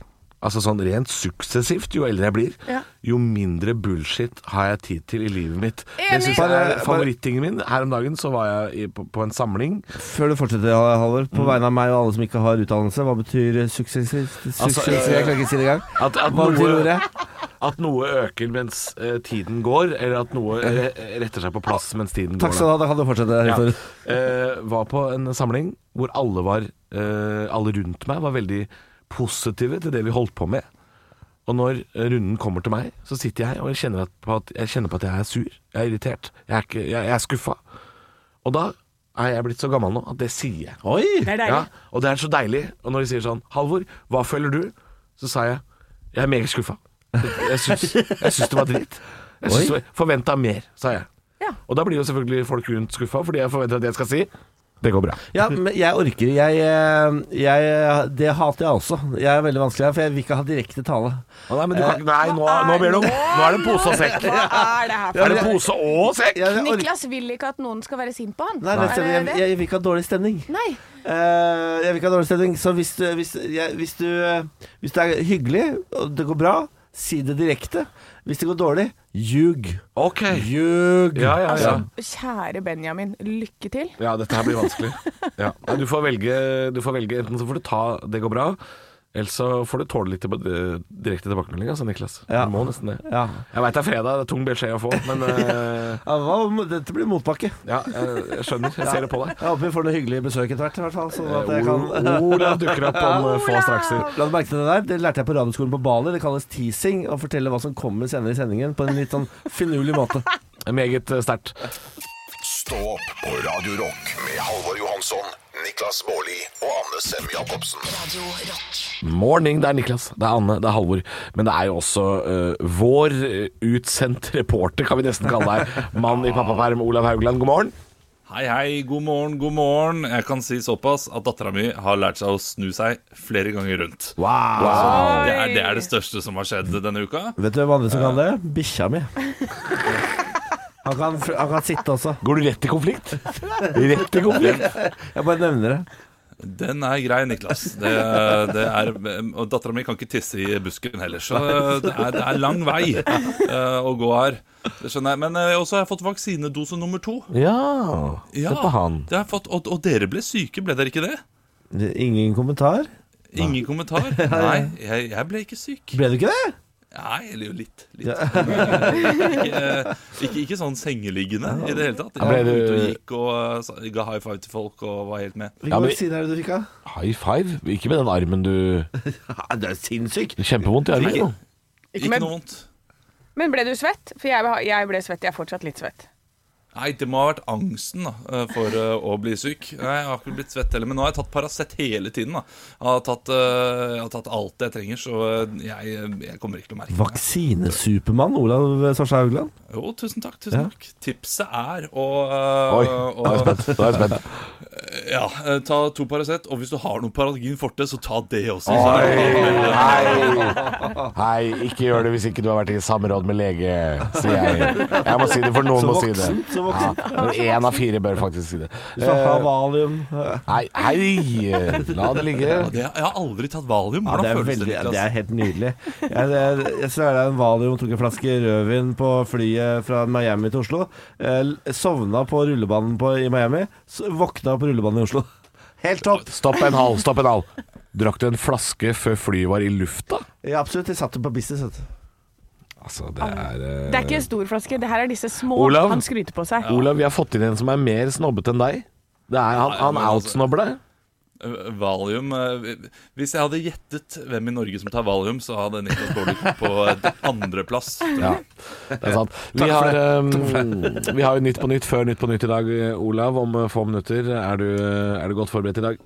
S4: altså sånn rent suksessivt, jo eldre jeg blir,
S3: Ja.
S4: jo mindre bullshit har jeg tid til i livet mitt. Det
S3: Enig.
S4: synes jeg
S5: Bare-
S4: er
S5: bare-
S4: favorittingen min. Her om dagen så var jeg i, på, på en samling.
S5: Før du fortsetter, Halvor, på vegne av meg og alle som ikke har utdannelse, hva betyr suksess?
S4: Altså,
S5: suksess- jeg klarer ikke si det engang.
S4: At, at,
S5: Hva betyr
S4: noe,
S5: ordet?
S4: at noe øker mens eh, tiden går, eller at noe re retter seg på plass mens tiden
S5: Takk
S4: går. da.
S5: skal du ha, da kan du fortsette.
S4: Ja.
S5: Victor.
S4: Eh, var på en samling hvor alle var eh, Alle rundt meg var veldig positive til det vi holdt på med. Og når eh, runden kommer til meg, så sitter jeg og jeg kjenner, at, på at, jeg kjenner på at jeg er sur. Jeg er irritert. Jeg er, ikke, jeg, jeg er skuffa. Og da er jeg blitt så gammel nå at det sier jeg.
S5: Oi!
S3: det er
S4: Ja,
S3: deilig.
S4: og det er så deilig. Og når de sier sånn 'Halvor, hva føler du?' Så sa jeg 'Jeg er meget skuffa'. Jeg syns, jeg syns det var dritt. Jeg syns
S5: Oi.
S4: det var- forventa mer, sa jeg.
S3: Ja.
S4: Og da blir jo selvfølgelig folk rundt skuffa, fordi jeg forventer at jeg skal si 'det går bra'.
S5: Ja, men jeg orker jeg, eh, jeg, Det hater jeg også. Jeg er veldig vanskelig her, for jeg vil ikke ha direkte tale.
S4: Å, nei, men du kan ikke Nei, nå, nå ber du om Nå er det pose og sekk.
S3: Hva er det her for
S4: Er det pose og sekk?
S5: Jeg, jeg, orker-
S3: Niklas vil ikke at noen skal være sint på han.
S5: Nei, rett og slett,
S3: Er
S5: jeg,
S3: det det?
S5: jeg, vil ikke ha dårlig stemning.
S3: Nei.
S5: Eh, jeg vil ikke ha dårlig stemning, så hvis du, hvis, jeg, hvis, du, eh, hvis det er hyggelig, og det går bra, si det direkte. Hvis det går dårlig, ljug.
S4: Ok.
S5: Ljug.
S4: Ja, ja, ja.
S3: Altså, Kjære Benjamin, lykke til.
S4: Ja, dette her blir vanskelig. [LAUGHS] Ja. Nei, Du, får velge, du får velge Enten så får du ta 'det går bra', eller så får du tåle litt tilba- eh, direkte tilbakemelding, altså, Niklas.
S5: Ja.
S4: Du må nesten det.
S5: Ja.
S4: Jeg veit det er fredag, det er tung beskjed å få, men [LAUGHS] eh,
S5: Ja, hva, om- dette blir motbakke.
S4: ja, jeg, jeg skjønner. Jeg ser det på deg.
S5: Jeg håper vi får noen hyggelige besøk etter hvert. i hvert fall, Sånn at jeg kan
S4: Eh, Ola- Ola dukker opp om [LAUGHS] eh, få strakser.
S5: [LAUGHS] La du merke til det der? Det lærte jeg på radioskolen på Bali. Det kalles teasing. Å fortelle hva som kommer senere i sendingen på en litt sånn finurlig måte.
S4: Meget eh, sterkt.
S2: Stå opp på Radio Rock med Halvor Johansson, Niklas Baarli og Anne Sem Jacobsen.
S1: Radio Rock.
S4: Morning, det er Niklas, det er Anne, det er Halvor. Men det er jo også eh, vår eh, utsendt reporter, kan vi nesten kalle deg. Mann i pappaperm, Olav Haugland, god morgen.
S8: Hei, hei, god morgen, god morgen. Jeg kan si såpass at dattera mi har lært seg å snu seg flere ganger rundt. Det er det, er det største som har skjedd denne uka.
S5: Vet du hvem andre som kan det? Bikkja
S7: [LAUGHS]
S5: mi. Han kan, han kan sitte også.
S4: Går du rett i konflikt? Rett i konflikt?
S5: Jeg bare nevner det.
S8: Den er grei, Niklas. Det, det er, og dattera mi kan ikke tisse i busken heller, så det er, det er lang vei eh, å gå her. Det skjønner jeg. Men eh, også har jeg fått vaksinedose nummer to.
S7: Ja. Se på han.
S8: Det har jeg fått, og, og dere ble syke, ble dere ikke det?
S7: Ingen kommentar?
S8: Ingen
S7: [LAUGHS]
S8: kommentar. Nei, jeg, jeg ble ikke syk.
S5: Ble det ikke det?
S8: Nei, eller jo litt. litt. [LAUGHS] ikke, ikke, ikke sånn sengeliggende i det hele tatt. Jeg
S4: ble
S8: var
S4: du-
S8: ute og gikk og eh, sa- ga high five til folk og var helt med.
S5: Hvilken
S4: Ja, men-
S5: vaksine er det du fikk av?
S4: High five? Ikke med den armen du
S7: [LAUGHS] Ja, det er sinnssyk.
S4: Kjempevondt i armen. jo.
S3: Ikke
S8: Ikke
S3: med-
S8: noe vondt.
S3: Men ble du svett? For jeg, jeg ble svett. Jeg er fortsatt litt svett.
S8: Nei, det må ha vært angsten da, eh, for eh, å bli syk. Nei, Jeg har ikke blitt svett heller, men nå har jeg tatt Paracet hele tiden. da. Jeg har tatt, eh, jeg har tatt alt det jeg trenger, så eh, jeg, jeg kommer ikke til å merke det.
S5: Vaksinesupermann Olav Svarstad Haugland.
S8: Jo, tusen takk. tusen takk. Tipset er å
S4: Oi,
S8: eh,
S4: nå er jeg
S8: å-
S4: spent. Nå er jeg spent.
S8: Ja, eh, ta to Paracet, og hvis du har noe Paralgin forte, så ta det også.
S4: Hei. Hei, ikke gjør det hvis ikke du har vært i samråd med lege, sier jeg. Jeg må si det, for noen
S5: Så
S4: må si det.
S5: voksen, så voksen.
S4: Ja, men én av fire bør faktisk si det.
S5: Du skal ha
S4: Eh,
S5: valium.
S4: Hei, hei! La det ligge.
S8: Ja, det, jeg har aldri tatt valium.
S5: Ja,
S8: Hvordan
S5: det er,
S8: føles
S5: veldig,
S8: det? Niklas?
S5: det
S7: altså.
S5: er helt nydelig. Jeg, jeg, jeg ser deg en valium tok en flaske rødvin på flyet fra Miami til Oslo. Jeg sovna på rullebanen på, i Miami, så våkna på rullebanen i Oslo. [LAUGHS] Helt topp.
S4: Stopp en hal, stopp en hal. Drakk du en flaske før flyet var i lufta?
S5: Ja, absolutt. Jeg satt jo på business. Vet. du.
S4: Altså, det er eh,
S3: Det er ikke en stor flaske. Det her er disse små
S4: Olav?
S3: han skryter på seg.
S4: Olav, vi har fått inn en som er mer snobbete enn deg. Det er, han han
S8: men altså-
S4: outsnobber deg.
S8: Eh, Valium eh, Hvis jeg hadde gjettet hvem i Norge som tar valium, så hadde Niklas Baarli kommet på eh, andreplass.
S4: Ja, [LAUGHS] det er sant. Vi har, eh, vi har jo Nytt på Nytt før Nytt på Nytt i dag, eh, Olav. Om eh, få minutter. Er du, eh, er du godt forberedt i dag?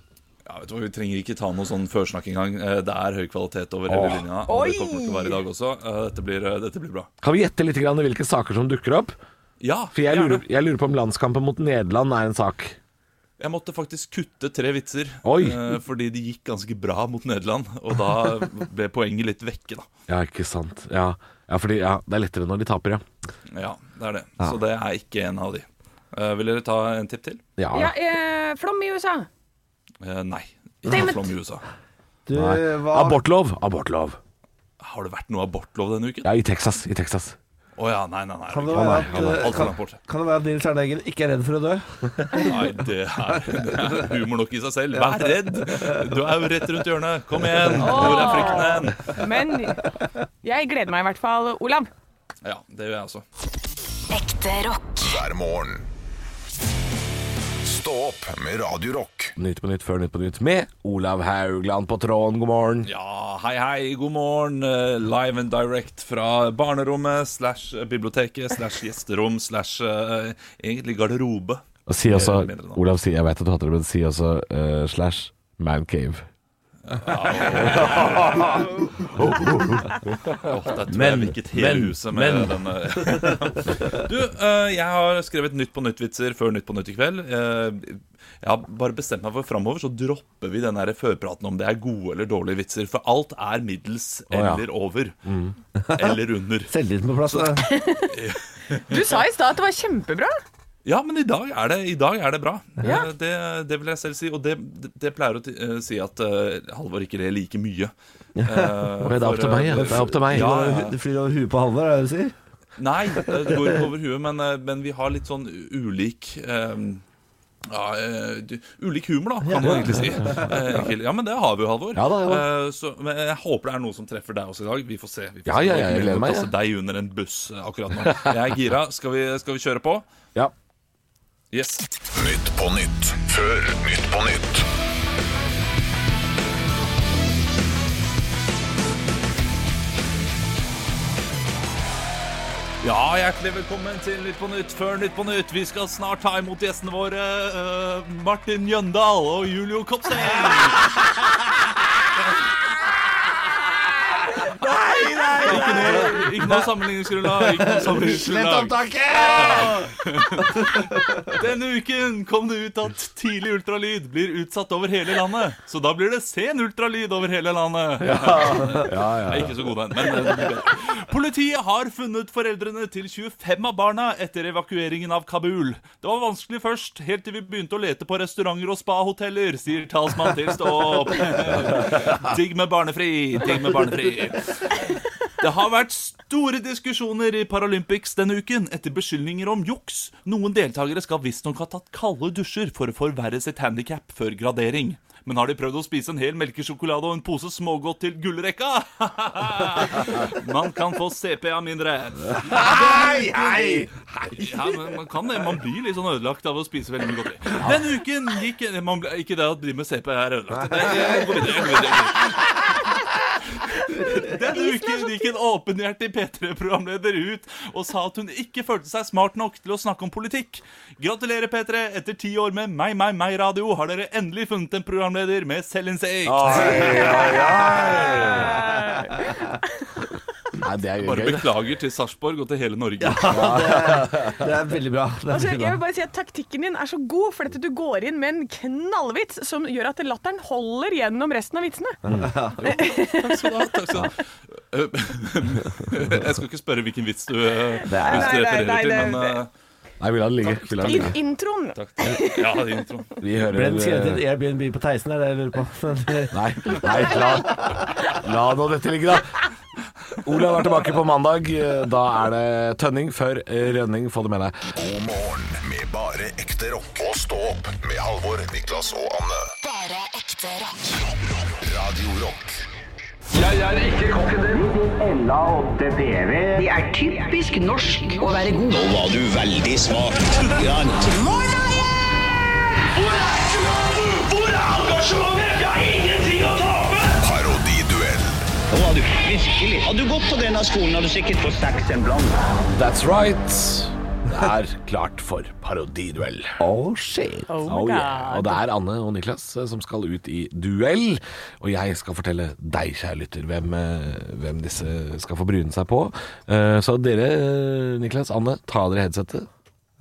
S8: Ja, vet du hva, Vi trenger ikke ta noe sånn førsnakk engang. Eh, Det er høy kvalitet over hele linja. Og det kommer det til å være i dag også. Eh, Dette blir, eh, dette blir bra.
S4: Kan vi gjette litt grann hvilke saker som dukker opp?
S8: Ja,
S4: For jeg
S8: gjerne.
S4: lurer, jeg lurer på om landskampen mot Nederland er en sak.
S8: Jeg måtte faktisk kutte tre vitser.
S4: Oi.
S8: eh, Fordi de gikk ganske bra mot Nederland. Og da ble poenget litt vekke, da.
S4: Ja, ikke sant. Ja, ja fordi ja, det er lettere når de taper, ja.
S8: Ja, det er det. Så det er ikke en av de. Eh, Vil dere ta en tipp til?
S3: Ja, eh, Flom i USA.
S8: Eh, Nei.
S3: Damn
S8: Ikke
S3: it.
S8: flom i USA.
S5: Du
S4: Nei.
S5: var
S4: Abortlov. Abortlov.
S8: Har det vært noe abortlov denne uken? Å
S4: Ja, i Texas. I Texas.
S8: ja. nei, nei, nei.
S5: Kan
S8: det
S5: det
S8: er ikke-
S5: være
S8: Nei, nei,
S5: at,
S8: alt for abort.
S5: kan det være at Nils Arne Eggen ikke er redd for å dø?
S8: Nei, det er, det er humor nok i seg selv. Vær redd! Du er jo rett rundt hjørnet. Kom igjen! Hvor er frykten hen?
S3: Men jeg gleder meg i hvert fall. Olav,
S8: Ja, det gjør jeg altså. også.
S1: Ekte rock.
S2: hver morgen. Stå opp med Radio Rock.
S4: Nytt på nytt før Nytt på nytt med Olav Haugland på tråden. God morgen.
S8: Ja, hei, hei, god morgen. Eh, Live and direct fra barnerommet slash biblioteket slash gjesterom slash eh, egentlig garderobe.
S4: Og si også
S8: Jeg mener det nå.
S4: Olav, si, jeg vet at du hater det, men si også eh, slash man cave.
S8: Åh, der tror jeg virket hele huset med denne Du, eh, [LAUGHS] jeg har skrevet Nytt på nytt-vitser før Nytt på nytt i kveld. Eh, jeg har bare bestemt meg for framover, så dropper vi den her førpraten om det er gode eller dårlige vitser. For alt er middels
S4: ja. Mm.
S8: eller over. [LAUGHS] Eller under.
S5: Selvtilliten på [LAUGHS] plass. da.
S3: du sa i stad at det var kjempebra.
S8: Ja, men i dag er det, i dag er det bra.
S3: Ja.
S8: Eh, Det, det vil jeg selv si. Og det, det pleier å ti- eh, si at eh, Halvor ikke ler like
S4: [LAUGHS]
S8: mye. Eh,
S4: det er opp til
S8: for, eh,
S4: meg, ja. Det er opp til meg.
S8: Ja, ja, ja.
S5: Du flyr over huet på Halvor, er det det du sier?
S8: Nei, det går ikke over huet, men, eh, men vi har litt sånn ulik eh, ja, eh, du- ulik humor, da, kan man egentlig si. Eh, Kjell. Ja, men det har vi jo, Halvor.
S4: Ja da, ja da.
S8: Eh, Så, men jeg håper det er noe som treffer deg også i dag. Vi får se. Vi får
S4: Ja, ja,
S8: se. Det er
S4: ja, jeg
S8: ikke mulig
S4: gleder
S8: å
S4: meg,
S8: kaste Deg under en buss eh, akkurat nå. Jeg er gira. Skal vi, skal vi kjøre på?
S4: Ja.
S8: Yes.
S2: Nytt på nytt før Nytt på nytt.
S8: Ja, hjertelig velkommen til Nytt på Nytt før Nytt på Nytt. Vi skal snart ta imot gjestene våre eh, Martin Jøndal og Julio Kopseng. nei, nei, Ikke noe, ikke noe sammenligningsgrunnlag. Ikke noe sammenligningsgrunnlag. Denne uken kom det ut at tidlig ultralyd blir utsatt over hele landet. Så da blir det sen ultralyd over hele landet.
S4: Ja,
S8: Jeg er ikke så god den, men den blir bedre. Politiet har funnet foreldrene til 25 av barna etter evakueringen av Kabul. Det var vanskelig først, helt til vi begynte å lete på restauranter og spahoteller, sier
S4: [LAUGHS]
S8: talsmann til Stå opp. Digg med barnefri, digg med barnefri. Det har vært store diskusjoner i Paralympics denne uken etter beskyldninger om juks. Noen deltakere skal visstnok ha tatt kalde dusjer for å forverre sitt handikap før gradering. Men har de prøvd å spise en hel melkesjokolade og en pose smågodt til gullrekka? [LAUGHS] Man kan få CPA mindre.
S7: Hei, hei!
S8: Ja, men man kan det. Man blir litt sånn ødelagt av å spise veldig mye godteri. Den uken gikk man ble, Ikke det at de med CP er ødelagt. Det, det, går videre, går videre. Den uken gikk en åpenhjertig P3-programleder ut og sa at hun ikke følte seg smart nok til å snakke om politikk. Gratulerer, P3. Etter ti år med Meg, meg, meg-radio har dere endelig funnet en programleder med selvinnsikt.
S4: Nei, det er jo
S8: Bare
S4: gøy. det.
S8: beklager til Sarpsborg og til hele Norge.
S5: Det er veldig bra. Det er
S3: Altså, jeg
S5: veldig
S3: vil
S5: bra.
S3: bare si at Taktikken din er så god, for dette du går inn med en knallvits som gjør at latteren holder gjennom resten av vitsene.
S8: Takk skal du ha. Takk skal du ha. Eh, sånn. [LAUGHS] Jeg skal ikke spørre hvilken vits du, eh, hvis du
S3: Nei, nei,
S8: refererer
S3: nei,
S8: til,
S3: det-
S8: men eh,
S4: Nei, vi lar det ligge. Vi, lar det
S3: I
S4: ligge.
S3: introen
S8: Ja, det er introen.
S4: vi
S5: Ble
S4: hører
S5: den skrevet i en
S4: eh,
S5: Airbnb på Theisen, er det jeg [LAUGHS] lurer på?
S4: Nei, nei la, la nå dette ligge, da. Olav er tilbake på mandag. Da er det Tønning før eh, Rønning, få det med deg.
S2: God morgen med bare ekte rock. Og stå opp med Halvor, Niklas og Anne.
S1: Bare ekte rock.
S2: Rock, rock. Radio Rock.
S9: Det er typisk norsk å være god.
S2: Parodiduell.
S4: That's right. Det er klart for parodiduell.
S5: Oh shit.
S4: Oh, yeah. Og det er Anne og Niklas eh, som skal ut i duell. Og jeg skal fortelle deg, kjære lytter, hvem, eh, hvem disse skal få bryne seg på. Eh, Så dere, eh, Niklas, Anne, ta dere headsetet.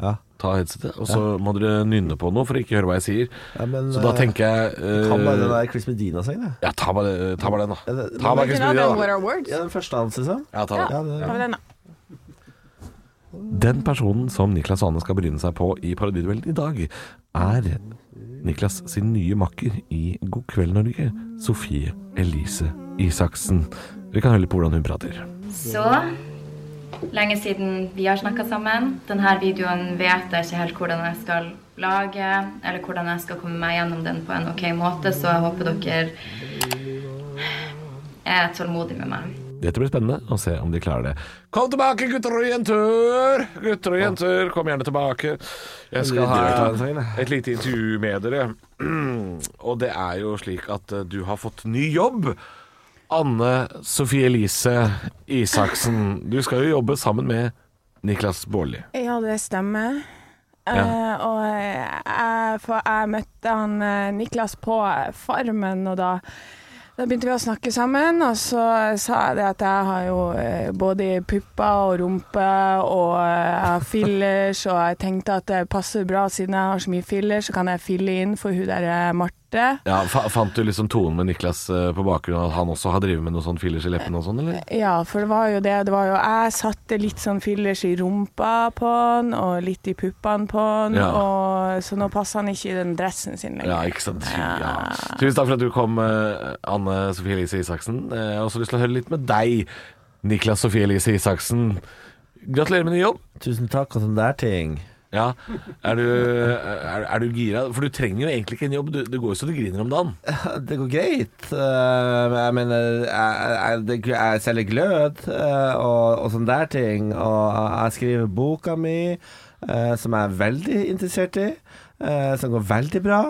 S5: Ja.
S4: Ta headsetet, og så må dere nynne på noe for å ikke høre hva jeg sier.
S5: Ja, men,
S4: så da
S5: eh,
S4: tenker jeg eh,
S5: Kan bare den der Chris Medina-sangen, jeg.
S4: Ja, ta bare, ta bare den,
S5: Ja,
S4: da.
S5: det-
S4: Ta bare
S5: men-
S3: You
S4: Chris
S3: know
S4: Medina,
S3: them
S4: da.
S3: what are words?
S5: Ja, den første hans, liksom.
S4: Ja, ta den.
S5: Ja, det,
S3: Ta med den, da.
S4: Den personen som Niklas og Anne skal bryne seg på i Paradiduellen i dag, er Niklas sin nye makker i God kveld Norge, Sofie Elise Isaksen. Vi kan høre litt på hvordan hun prater.
S10: Så lenge siden vi har snakka sammen. Denne videoen vet jeg ikke helt hvordan jeg skal lage, eller hvordan jeg skal komme meg gjennom den på en ok måte, så jeg håper dere er tålmodige med meg.
S4: Dette blir spennende å se om de klarer det. Kom tilbake, gutter og jenter! Gutter og jenter, kom gjerne tilbake. Jeg skal ha et lite intervju med dere. [CLEARS THROAT] Og det er jo slik at eh, du har fått ny jobb. Anne Sofie Elise Isaksen, du skal jo jobbe sammen med Niklas Baarli.
S3: Ja, det stemmer. Eh,
S4: Ja.
S3: og jeg, for jeg møtte han eh, Niklas på Farmen, og da, da begynte vi å snakke sammen. Og så sa jeg det at jeg har jo eh, både pupper og rumpe, og eh, jeg har fillers, og jeg tenkte at det passer bra siden jeg har så mye fillers, så kan jeg fylle inn for hun der eh, Marte.
S4: Ja, fa Fant du liksom tonen med Niklas eh, på bakgrunn av at han også har drevet med noe sånn fillers i leppene og sånn, eller?
S3: Ja, for det var jo det. det var jo, jeg satte litt sånn fillers i rumpa på han, og litt i puppene på han,
S4: Ja.
S3: og, så nå passer han ikke i den dressen sin
S4: Ja,
S3: lenger.
S4: ikke sant. Ja. Tusen takk for at du kom, eh, Anne Sofie Elise Isaksen. Eh, Jeg har også lyst til å høre litt med deg, Niklas Sofie Elise Isaksen. Gratulerer med ny jobb.
S5: Tusen takk, og sånn der ting.
S4: Ja, Er du, eh, er, er du gira? For du trenger jo egentlig ikke en jobb. Du, det går jo så du griner om dagen.
S5: Det går greit. eh, men jeg mener, jeg, jeg, det- jeg selger glød eh, og, og sånne der ting. Og jeg skriver boka mi, eh, som jeg er veldig interessert i, eh, som går veldig bra.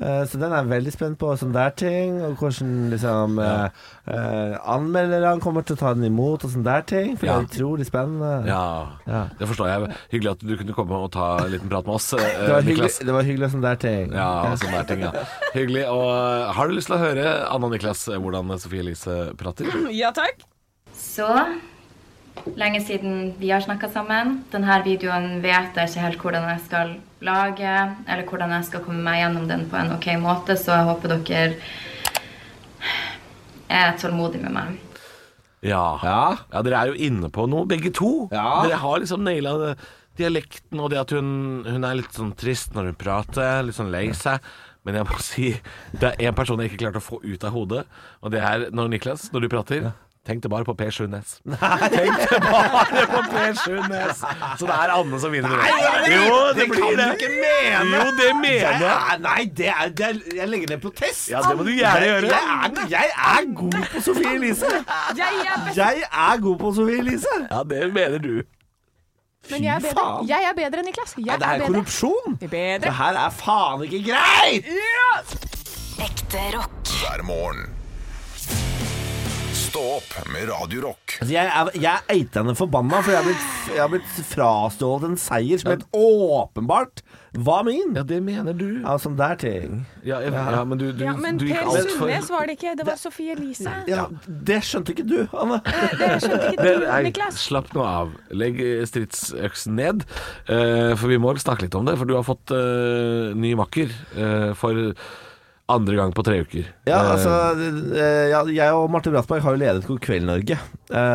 S5: Eh, så den er jeg veldig spent på, sånne der ting. Og hvordan liksom eh, eh, anmelderne kommer til å ta den imot, og sånne der ting. For
S4: Ja.
S5: det er utrolig spennende.
S4: Ja,
S5: Ja.
S4: Det forstår jeg. Hyggelig at du kunne komme og ta en liten prat med oss,
S5: Det,
S4: eh,
S5: var hyggelig,
S4: Niklas.
S5: det var hyggelig og sånne der ting.
S4: Ja, og sånne der ting, ja. Hyggelig. Og eh, har du lyst til å høre, Anne og Niklas, eh, hvordan Sofie Elise prater?
S3: Ja takk.
S10: Så lenge siden vi har snakka sammen. Denne videoen vet jeg ikke helt hvordan jeg skal lage, eller hvordan jeg skal komme meg gjennom den på en ok måte, så jeg håper dere er tålmodige med meg.
S4: Ja.
S5: Ja.
S4: Dere er jo inne på noe, begge to.
S5: Ja.
S4: Dere har liksom naila det- dialekten og det at hun, hun er litt sånn trist når hun prater, litt sånn lei seg. Men [LAUGHS] jeg må si det er én person jeg ikke klarte å få ut av hodet, og det er når Niklas, når du prater Tenk det bare på Per Sundnes.
S5: [LAUGHS] Nei,
S4: [LAUGHS] tenk det bare på Per Sundnes! Så det er Anne som vinner. jo, det, blir det. Jo, det mener jeg.
S5: jeg. Nei, det er, det er, jeg legger ned protest.
S4: Ja, det må du gjerne
S5: Jeg-
S4: gjøre.
S5: Jeg er, jeg er god på Sofie Elise.
S11: Jeg er best,
S5: Jeg er god på Sofie Elise.
S4: Ja, det mener du.
S11: men jeg er bedre,
S5: faen.
S11: jeg er bedre enn Niklas. Jeg
S5: Nei,
S11: er
S5: det her er
S11: bedre.
S5: korrupsjon.
S11: Det er bedre.
S5: Det her er faen ikke greit!
S1: Ekte rock.
S2: hver morgen. Stå opp med Radio Rock.
S5: Altså, jeg er, jeg er eitende forbanna, for jeg har blitt, jeg har blitt frastjålet en seier som helt åpenbart var min.
S4: Ja, det mener du.
S5: Ja, sånn der ting.
S4: Ja, jeg, ja men du, du,
S3: Ja, men
S4: du
S3: Per
S4: gikk altfor
S3: Sundnes var det ikke, det var Sofie Elise.
S5: Ja, det skjønte ikke du, Anne.
S3: Dere skjønte ikke
S4: Vel,
S3: det,
S4: nei,
S3: Niklas.
S4: slapp nå av. Legg eh, stridsøksen ned. eh, for vi må snakke litt om det, for du har fått eh, ny makker eh, for andre gang på tre uker.
S5: Ja,
S4: Eh,
S5: altså eh, ja, Jeg og Marte Brattberg har jo ledet God kveld Norge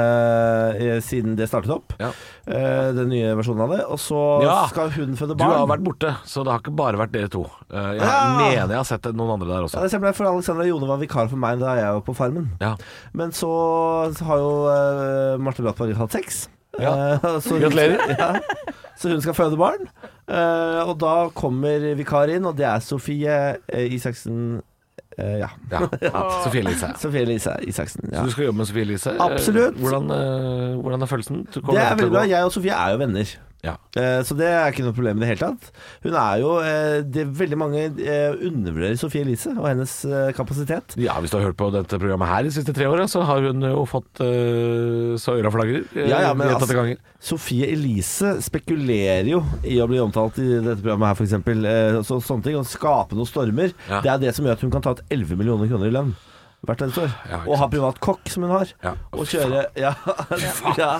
S5: eh, siden det startet opp.
S4: Ja.
S5: Eh, den nye versjonen av det. Og så
S4: Ja.
S5: skal hun
S4: du
S5: føde barn.
S4: har vært borte, så det har ikke bare vært dere to. Eh, jeg
S5: Ja.
S4: mener jeg har sett noen andre der
S5: ja,
S4: også.
S5: det stemmer, for Alexandra Jone var vikar for meg da jeg var på Farmen.
S4: Ja.
S5: Men så har jo eh, Marte Brattberg hatt sex.
S4: Ja.
S5: Eh, [LAUGHS] så hun-
S4: Gratulerer.
S5: Ja. Så hun skal føde barn. Eh, og da kommer vikar inn, og det er Sofie eh, Isaksen eh, [LAUGHS] Ja.
S4: Ja. Sofie Elise.
S5: Sofie Elise Isaksen. Ja.
S4: Så du skal jobbe med Sofie Elise. Eh,
S5: Absolutt.
S4: Hvordan, eh, hvordan er følelsen? Du kommer
S5: Det
S4: til å
S5: er veldig bra.
S4: gå-
S5: Jeg og Sofie er jo venner.
S4: Ja.
S5: Eh, Så det er ikke noe problem i det hele tatt. Hun er jo eh, det er Veldig mange eh, undervurderer Sofie Elise og hennes eh, kapasitet.
S4: Ja, Hvis du har hørt på dette programmet her de siste tre åra, så har hun jo fått eh, så øra flagrer. eh,
S5: Ja, ja, men
S4: gjentatte
S5: altså-
S4: ganger.
S5: Sofie Elise spekulerer jo i å bli omtalt i dette programmet her, f.eks. Så, sånne ting. Å skape noen stormer.
S4: Ja.
S5: Det er det som gjør at hun kan ta ut 11 millioner kroner i lønn. Hvert eneste år.
S4: Ja, ikke
S5: og ha privat kokk, som hun har.
S4: Ja.
S5: Og kjøre Ja. [LAUGHS] ja.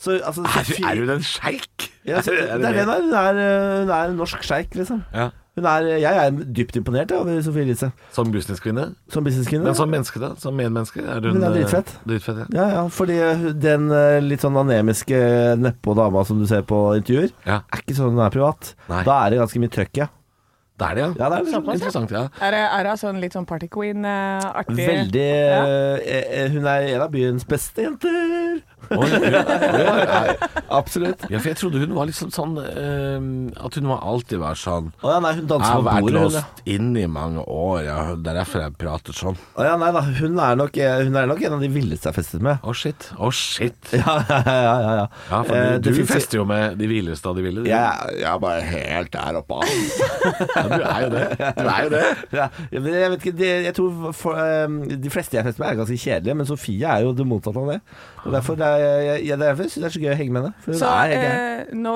S5: Så, altså, Sofie-
S4: Er hun en sjeik?
S5: Ja, så, det er det hun er. Hun er, eh, hun er en norsk sjeik, liksom.
S4: Ja.
S5: Hun er, jeg er dypt imponert over Sofie Elise
S4: Som businesskvinne?
S5: som businesskvinne.
S4: Men som menneske, da? Som medmenneske? Er hun,
S5: Hun er
S4: eh,
S5: dritfett.
S4: dritfett ja.
S5: Ja, ja, fordi den eh, litt sånn anemiske nedpå dama som du ser på intervjuer,
S4: Ja.
S5: er ikke sånn hun er privat.
S4: Nei.
S5: Da er det ganske mye trøkk, ja.
S4: Det er det, ja.
S5: Ja, det er det.
S4: Såpass, Interessant, ja.
S3: Er det, er det sånn litt sånn Party Queen-aktig?
S5: Veldig
S3: Ja.
S5: eh, eh, Hun er en av byens beste jenter.
S4: Oi, ja, ja, ja.
S5: Absolutt.
S4: ja, for jeg trodde hun var liksom sånn eh, At hun var alltid var sånn
S5: Å ja, nei, hun
S4: Jeg
S5: danser
S4: har
S5: på
S4: vært
S5: bordet, hun. ja.
S4: låst inne i mange år, ja. det er derfor jeg prater sånn.
S5: Å ja, nei da, hun er nok, eh, hun er nok en av de villeste jeg har festet med. [LAUGHS]
S4: Å, shit. Å, shit.
S5: Ja, ja, ja. ja, ja.
S4: Ja, for
S5: Eh,
S4: du,
S5: det
S4: du
S5: finnes-
S4: fester jo med de hvileste av de ville. du.
S5: Jeg, jeg er bare helt der oppe. ass.
S4: Ja, du er jo det. Du er jo det.
S5: [LAUGHS] Ja, men jeg vet ikke, det, jeg tror for, ehm, De fleste jeg fester med er ganske kjedelige, men Sofie er jo det motsatte av det. Og Derfor det er, jeg, jeg, derfor synes jeg det er så gøy å henge med henne. For hun
S3: Så
S5: er helt grei.
S3: eh, nå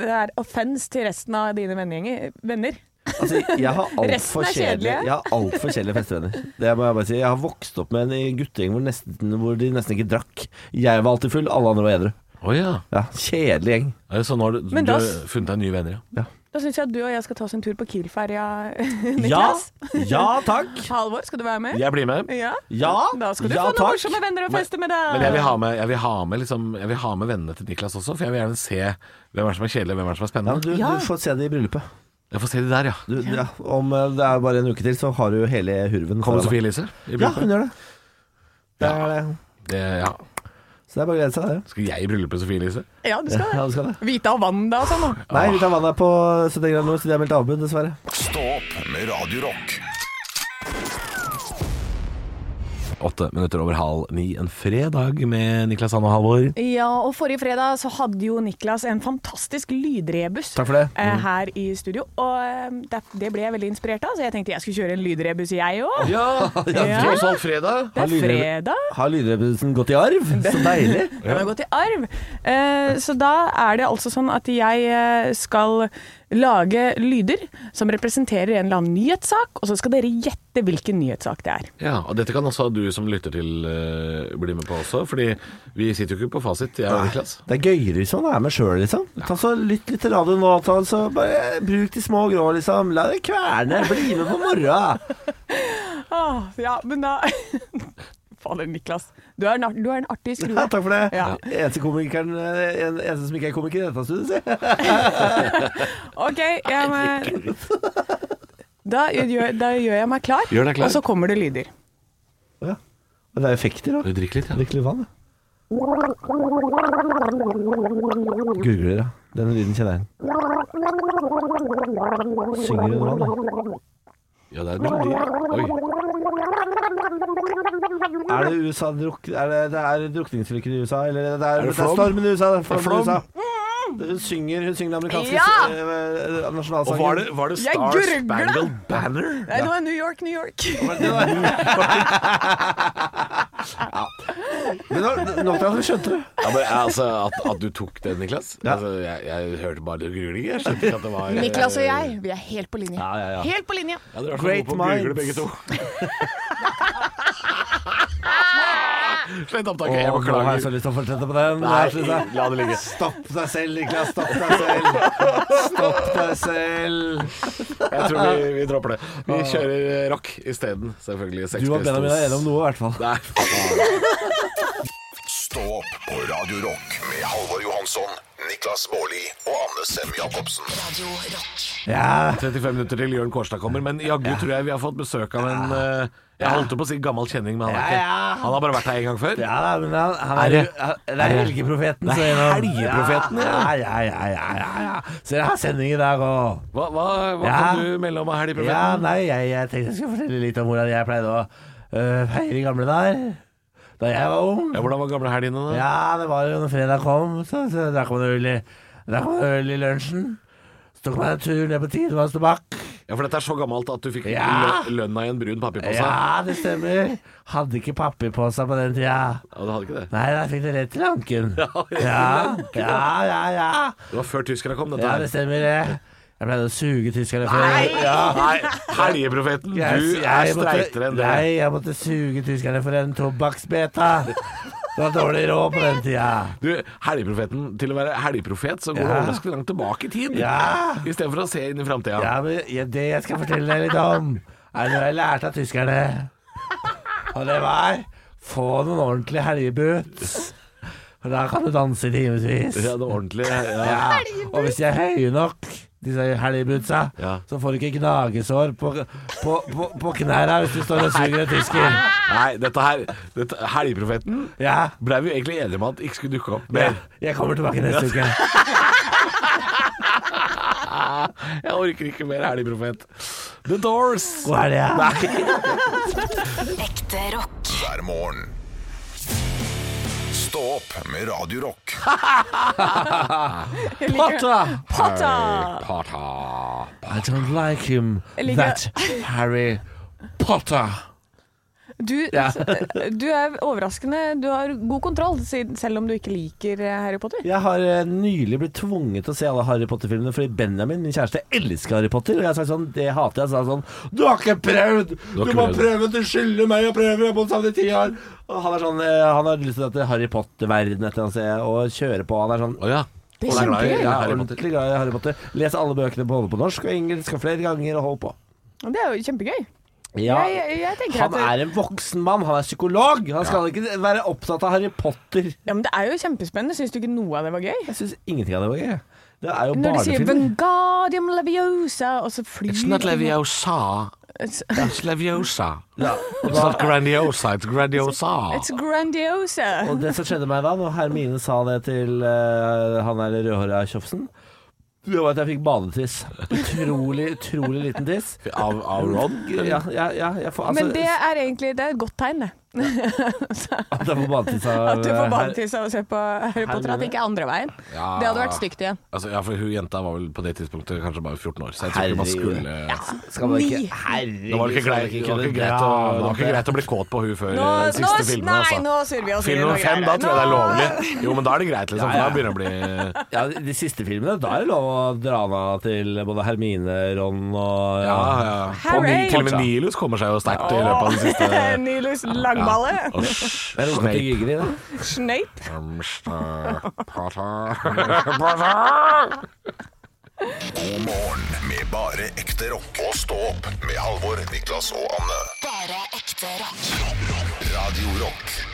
S3: Det er offens til resten av dine vennegjenger. Venner.
S5: altså, jeg har
S3: resten
S5: altfor
S3: er
S5: kjedelige
S3: kjedelige.
S5: Jeg har alt for kjedelige festevenner. Det må jeg bare si. Jeg har vokst opp med en guttegjeng hvor, nesten- hvor de nesten ikke drakk. Jeg var alltid full, alle andre var edru.
S4: Å ja.
S5: Ja, kjedelig gjeng.
S4: Er det sånn nå har du,
S3: Men
S4: du
S3: da
S4: har
S3: s-
S4: funnet deg nye venner, ja?
S3: Da syns jeg at du og jeg skal ta oss en tur på Kiel-ferja,
S5: Ja,
S3: Niklas.
S5: ja takk.
S3: Halvor, skal du være med?
S4: Jeg blir med.
S3: Ja.
S5: Ja,
S3: Da skal du
S5: ja,
S3: få noen
S5: takk.
S3: morsomme venner å feste med deg.
S4: Men jeg vil ha med, jeg vil ha med, liksom, jeg vil ha med vennene til Niklas også, for jeg vil gjerne se hvem er det som er kjedelig, og hvem er det som er
S5: Ja, men
S4: spennende.
S5: du,
S3: Ja.
S5: du får se det i bryllupet.
S4: Jeg får se de der, ja.
S5: Du, ja, om eh, det er bare en uke til, så har du hele hurven.
S4: Kommer
S5: foran deg.
S4: Sofie Elise? i
S5: Ja,
S4: bryllupet?
S5: hun gjør det. Det er det.
S4: Det, ja.
S5: Så det er bare å glede seg, det.
S4: Skal jeg i bryllupet, Sofie Elise?
S3: Ja, du skal
S5: Ja,
S3: det.
S5: du skal det.
S3: Vita og Wanda og sånn. da.
S5: Nei, vi tar vannet på 70 grader nord, så de har meldt avbud, dessverre.
S2: Stå opp med Radio Rock.
S4: Åtte minutter over halv ni en fredag med Niklas Anne og Halvor.
S3: Ja, og forrige fredag så hadde jo Niklas en fantastisk lydrebus
S5: Takk for det.
S3: eh, her i studio. Og eh, det, det ble jeg veldig inspirert av, så jeg tenkte jeg skulle kjøre en lydrebus jeg òg.
S4: [LAUGHS] Ja,
S3: Ja.
S4: tross alt fredag.
S3: Det
S5: har
S3: er
S5: lydrebu-
S3: fredag.
S5: Har lydrebussen gått i arv? Så deilig.
S3: Den har gått i arv. Eh, så da er det altså sånn at jeg eh, skal lage lyder som representerer en eller annen nyhetssak, og så skal dere gjette hvilken nyhetssak det er.
S4: Ja, og dette kan også du som lytter til eh, bli med på også, fordi vi sitter jo ikke på fasit, jeg og Niklas.
S5: Det er gøyere hvis man er med sjøl, liksom. Ta så Lytt litt til radioen nå, ta, så bare bruk de små grå, liksom. La det kverne. Bli med på morgenen.
S3: Ah, ja, men da [LAUGHS] Fader, Niklas. Du er en, art- du er en
S4: [LAUGHS]
S3: artig skrue.
S5: Ja, takk for det.
S3: Ja.
S5: Eneste komikeren eh, en, Eneste som ikke er komiker i dette studioet, si.
S3: Ok, jeg må... da, gjør, da gjør jeg meg klar,
S4: Gjør deg klar.
S3: og så kommer det lyder.
S5: Ja. Men det er effekter, da.
S4: Du drikker litt, ja.
S5: Drikk litt vann, ja. Gurgler, ja. Den lyden kjenner jeg igjen. Synger du noe
S6: da?
S4: Ja, det er melodi.
S5: Er det USA druk, er det, det er drukningsulykker i USA? Eller det er,
S6: det
S5: det er
S6: flom?
S5: stormen i USA? Det er
S6: Det er
S5: flom i USA.
S6: flom.
S5: Hun synger, hun synger den amerikanske
S3: Ja!
S5: eh, eh, nasjonalsangen.
S7: Og var det, var det
S3: Jeg
S7: Star
S3: gurgla.
S7: Spangled Banner?
S3: Nei, det var New York, New York.
S5: [LAUGHS] Men nå, nok til at du skjønte det.
S4: Ja, men, altså, at, at du tok den, Niklas. Altså, jeg, jeg hørte bare gruling. Jeg skjønte ikke at det var eh,
S11: Niklas og jeg, vi er helt på linje.
S4: Ja, ja, ja.
S11: Helt på linje.
S4: Ja, dere er så
S5: Great
S4: gode på å google
S5: minds.
S4: begge to. Slett opptaket. Jeg
S5: Åh, nå har
S4: beklager.
S5: jeg så lyst til å fortsette på den.
S4: Nei,
S5: synes jeg.
S4: la det ligge.
S5: Stopp deg selv, Niklas. Stopp deg selv. Stopp deg selv.
S4: Jeg
S5: [LAUGHS]
S4: tror vi, vi dropper det. Vi kjører eh, rock isteden, selvfølgelig. Sex
S5: Du og Benjamin
S4: Pistols.
S5: er enige om noe, i hvert fall.
S4: Nei,
S2: Stå opp på Radio Rock med Halvor Johansson, Niklas Baarli og Anne Sem Jacobsen.
S5: Ja.
S4: 35 minutter til Jørn Kårstad kommer, men jaggu tror jeg vi har fått besøk av en eh, Jeg holdt på å si gammel kjenning, men han er ikke
S5: ja.
S4: Han har bare vært her en gang før.
S5: Ja, da, men han, han er,
S4: Er det-
S5: han- det er
S4: er det-
S5: helgeprofeten.
S4: Det er
S5: sier han.
S4: helgeprofeten,
S5: ja.
S4: ja.
S5: Ja, ja, ja, ja, ja. Så jeg har sending i dag òg.
S4: Hva, hva, hva
S5: Ja.
S4: kan du melde om av helg,
S5: Ja,
S4: profeten?
S5: nei, jeg, jeg tenkte jeg skulle fortelle litt om hvordan jeg pleide å øh, feire i gamle dager. Da jeg var ung.
S4: Ja, hvordan var gamle helgene, da?
S5: Ja, det var jo når fredag kom, så, så drakk man øl i, drakk man øl i lunsjen. Så tok man en tur ned på Tidemanns tobakk.
S4: Ja, for dette er så gammelt at du fikk
S5: Ja.
S4: lø- lønna i en brun papirpose.
S5: Ja, det stemmer. Hadde ikke papirpose på den tida.
S4: Ja, du hadde ikke det.
S5: Nei, da fikk det rett til anken.
S4: rett til
S5: Ja, ja, ja. ja.
S4: Det var før tyskerne kom, dette
S5: Ja, det
S4: her.
S5: stemmer det. Jeg pleide å suge tyskerne før. Ja.
S4: Nei, helgeprofeten, du er streitere enn det.
S5: Nei, jeg måtte suge tyskerne for en tobakksbeta. Det var dårlig råd på den tida.
S4: Du, helgeprofeten, til å være helgeprofet, så går du
S5: Ja.
S4: overraskende langt tilbake i tid.
S5: Ja.
S4: I stedet for å se inn i framtida.
S5: Ja, men jeg- det jeg skal fortelle deg litt om, er noe jeg lærte av tyskerne. Og det var få noen ordentlige helgeboots. For da kan du danse i timevis.
S4: Ja, det var ordentlig. Ja.
S5: Ja. Og hvis de er høye nok, disse helgebootsa,
S4: Ja.
S5: så får du ikke gnagesår på, på, på, på knærne hvis du står og suger en tysker.
S4: Nei, dette her dette, Helgeprofeten
S5: Ja.
S4: blei vi jo egentlig enige om at ikke skulle dukke opp
S5: Ja,
S4: mer.
S5: jeg kommer tilbake neste uke.
S4: Ah, Jeg orker ikke mer helgeprofet. The Doors.
S5: God helg. ja.
S1: Ekte rock.
S2: hver morgen. Stå opp med Radio Rock.
S5: Potter!
S4: Harry Potter.
S5: I don't like him,
S3: Jeg liker-
S5: that Harry Potter.
S3: Du, altså,
S5: Ja.
S3: du er overraskende Du har god kontroll, siden- selv om du ikke liker eh, Harry Potter.
S5: Jeg har eh, nylig blitt tvunget til å se alle Harry Potter-filmene fordi Benjamin, min kjæreste, elsker Harry Potter. Og jeg har sagt sånn, det hater jeg. Så har han sånn, du har ikke prøvd! Du,
S4: ikke
S5: må
S4: prøvd.
S5: prøve! Du skylder meg å prøve! Jeg har bodd sammen i ti år! Og han er sånn, eh, han har lyst til at Harry Potter-verden etter han ser, og kjøre på. Han er sånn
S4: Å ja.
S5: Det
S4: er glad i Harry Potter.
S5: ordentlig glad i Harry Potter. Les alle bøkene både på norsk og engelsk og flere ganger og hold på.
S3: Og Det er jo kjempegøy.
S5: Ja.
S3: Jeg, jeg tenker
S5: Han
S3: at
S5: er en voksen mann, han er psykolog. Han skal ikke være opptatt av Harry Potter.
S3: ja, men Det er jo kjempespennende. Syns du ikke noe av det var gøy?
S5: Jeg syns ingenting av det var gøy. Det er jo
S3: Når de sier
S5: barnefilm.
S3: 'Vengadium leviosa', og så flyr
S4: It's not Leviosa. It's Leviosa. It's not Grandiosa, it's Grandiosa.
S3: It's grandiosa.
S5: Og det som skjedde meg da, når Hermine sa det til eh, han der rødhåra tjofsen det var at jeg fikk badetiss. Utrolig, utrolig liten tiss.
S4: [LAUGHS] Av, av Ron?
S5: Ja, ja, ja, jeg får, altså,
S3: Men det er egentlig det er et godt tegn, det.
S5: altså, At jeg får badetiss av
S3: At du får
S5: eh, her-
S3: badetiss av å se på Harry Potter. At det ikke er andre veien.
S4: Ja.
S3: Det hadde vært stygt igjen.
S4: Altså, ja, for hun jenta var vel på det tidspunktet kanskje bare 14 år, så jeg tror ikke man
S5: Herregud.
S4: skulle
S5: Skal man ikke
S3: Ni.
S5: Herregud.
S4: Det var ikke,
S5: skal man
S4: greit, det var
S5: kunne
S4: ikke, greit,
S5: dra
S4: å, det
S5: det
S4: var ikke
S5: opp.
S4: greit å bli kåt på hun før
S3: Nå,
S4: eh, de
S3: nå,
S4: siste filmene.
S3: nei,
S4: Altså.
S3: nå surrer vi oss
S4: Film
S3: inn i noe
S4: nummer fem,
S3: greier.
S4: da tror jeg det er
S3: Nå-
S4: lovlig. Jo, men da er det greit, liksom, for da begynner det å
S3: [LAUGHS]
S4: bli
S5: Ja, De siste filmene, da er det lov å dra av til både Hermine, Ron og
S4: Ja, ja.
S3: Harry!
S4: Og Ni- Til og med Nilus kommer seg jo sterkt i løpet av den siste
S3: [LAUGHS] Nylus langballe.
S4: Og
S5: Jeg runker til
S4: Snape.
S5: Gygri, da.
S3: Snape.
S4: Mr.
S3: [LAUGHS]
S4: Potter. [LAUGHS] Potter.
S2: God morgen med bare ekte rock. Og stå opp med Halvor, Niklas og Anne.
S1: Bare ekte rock.
S2: Radio Rock.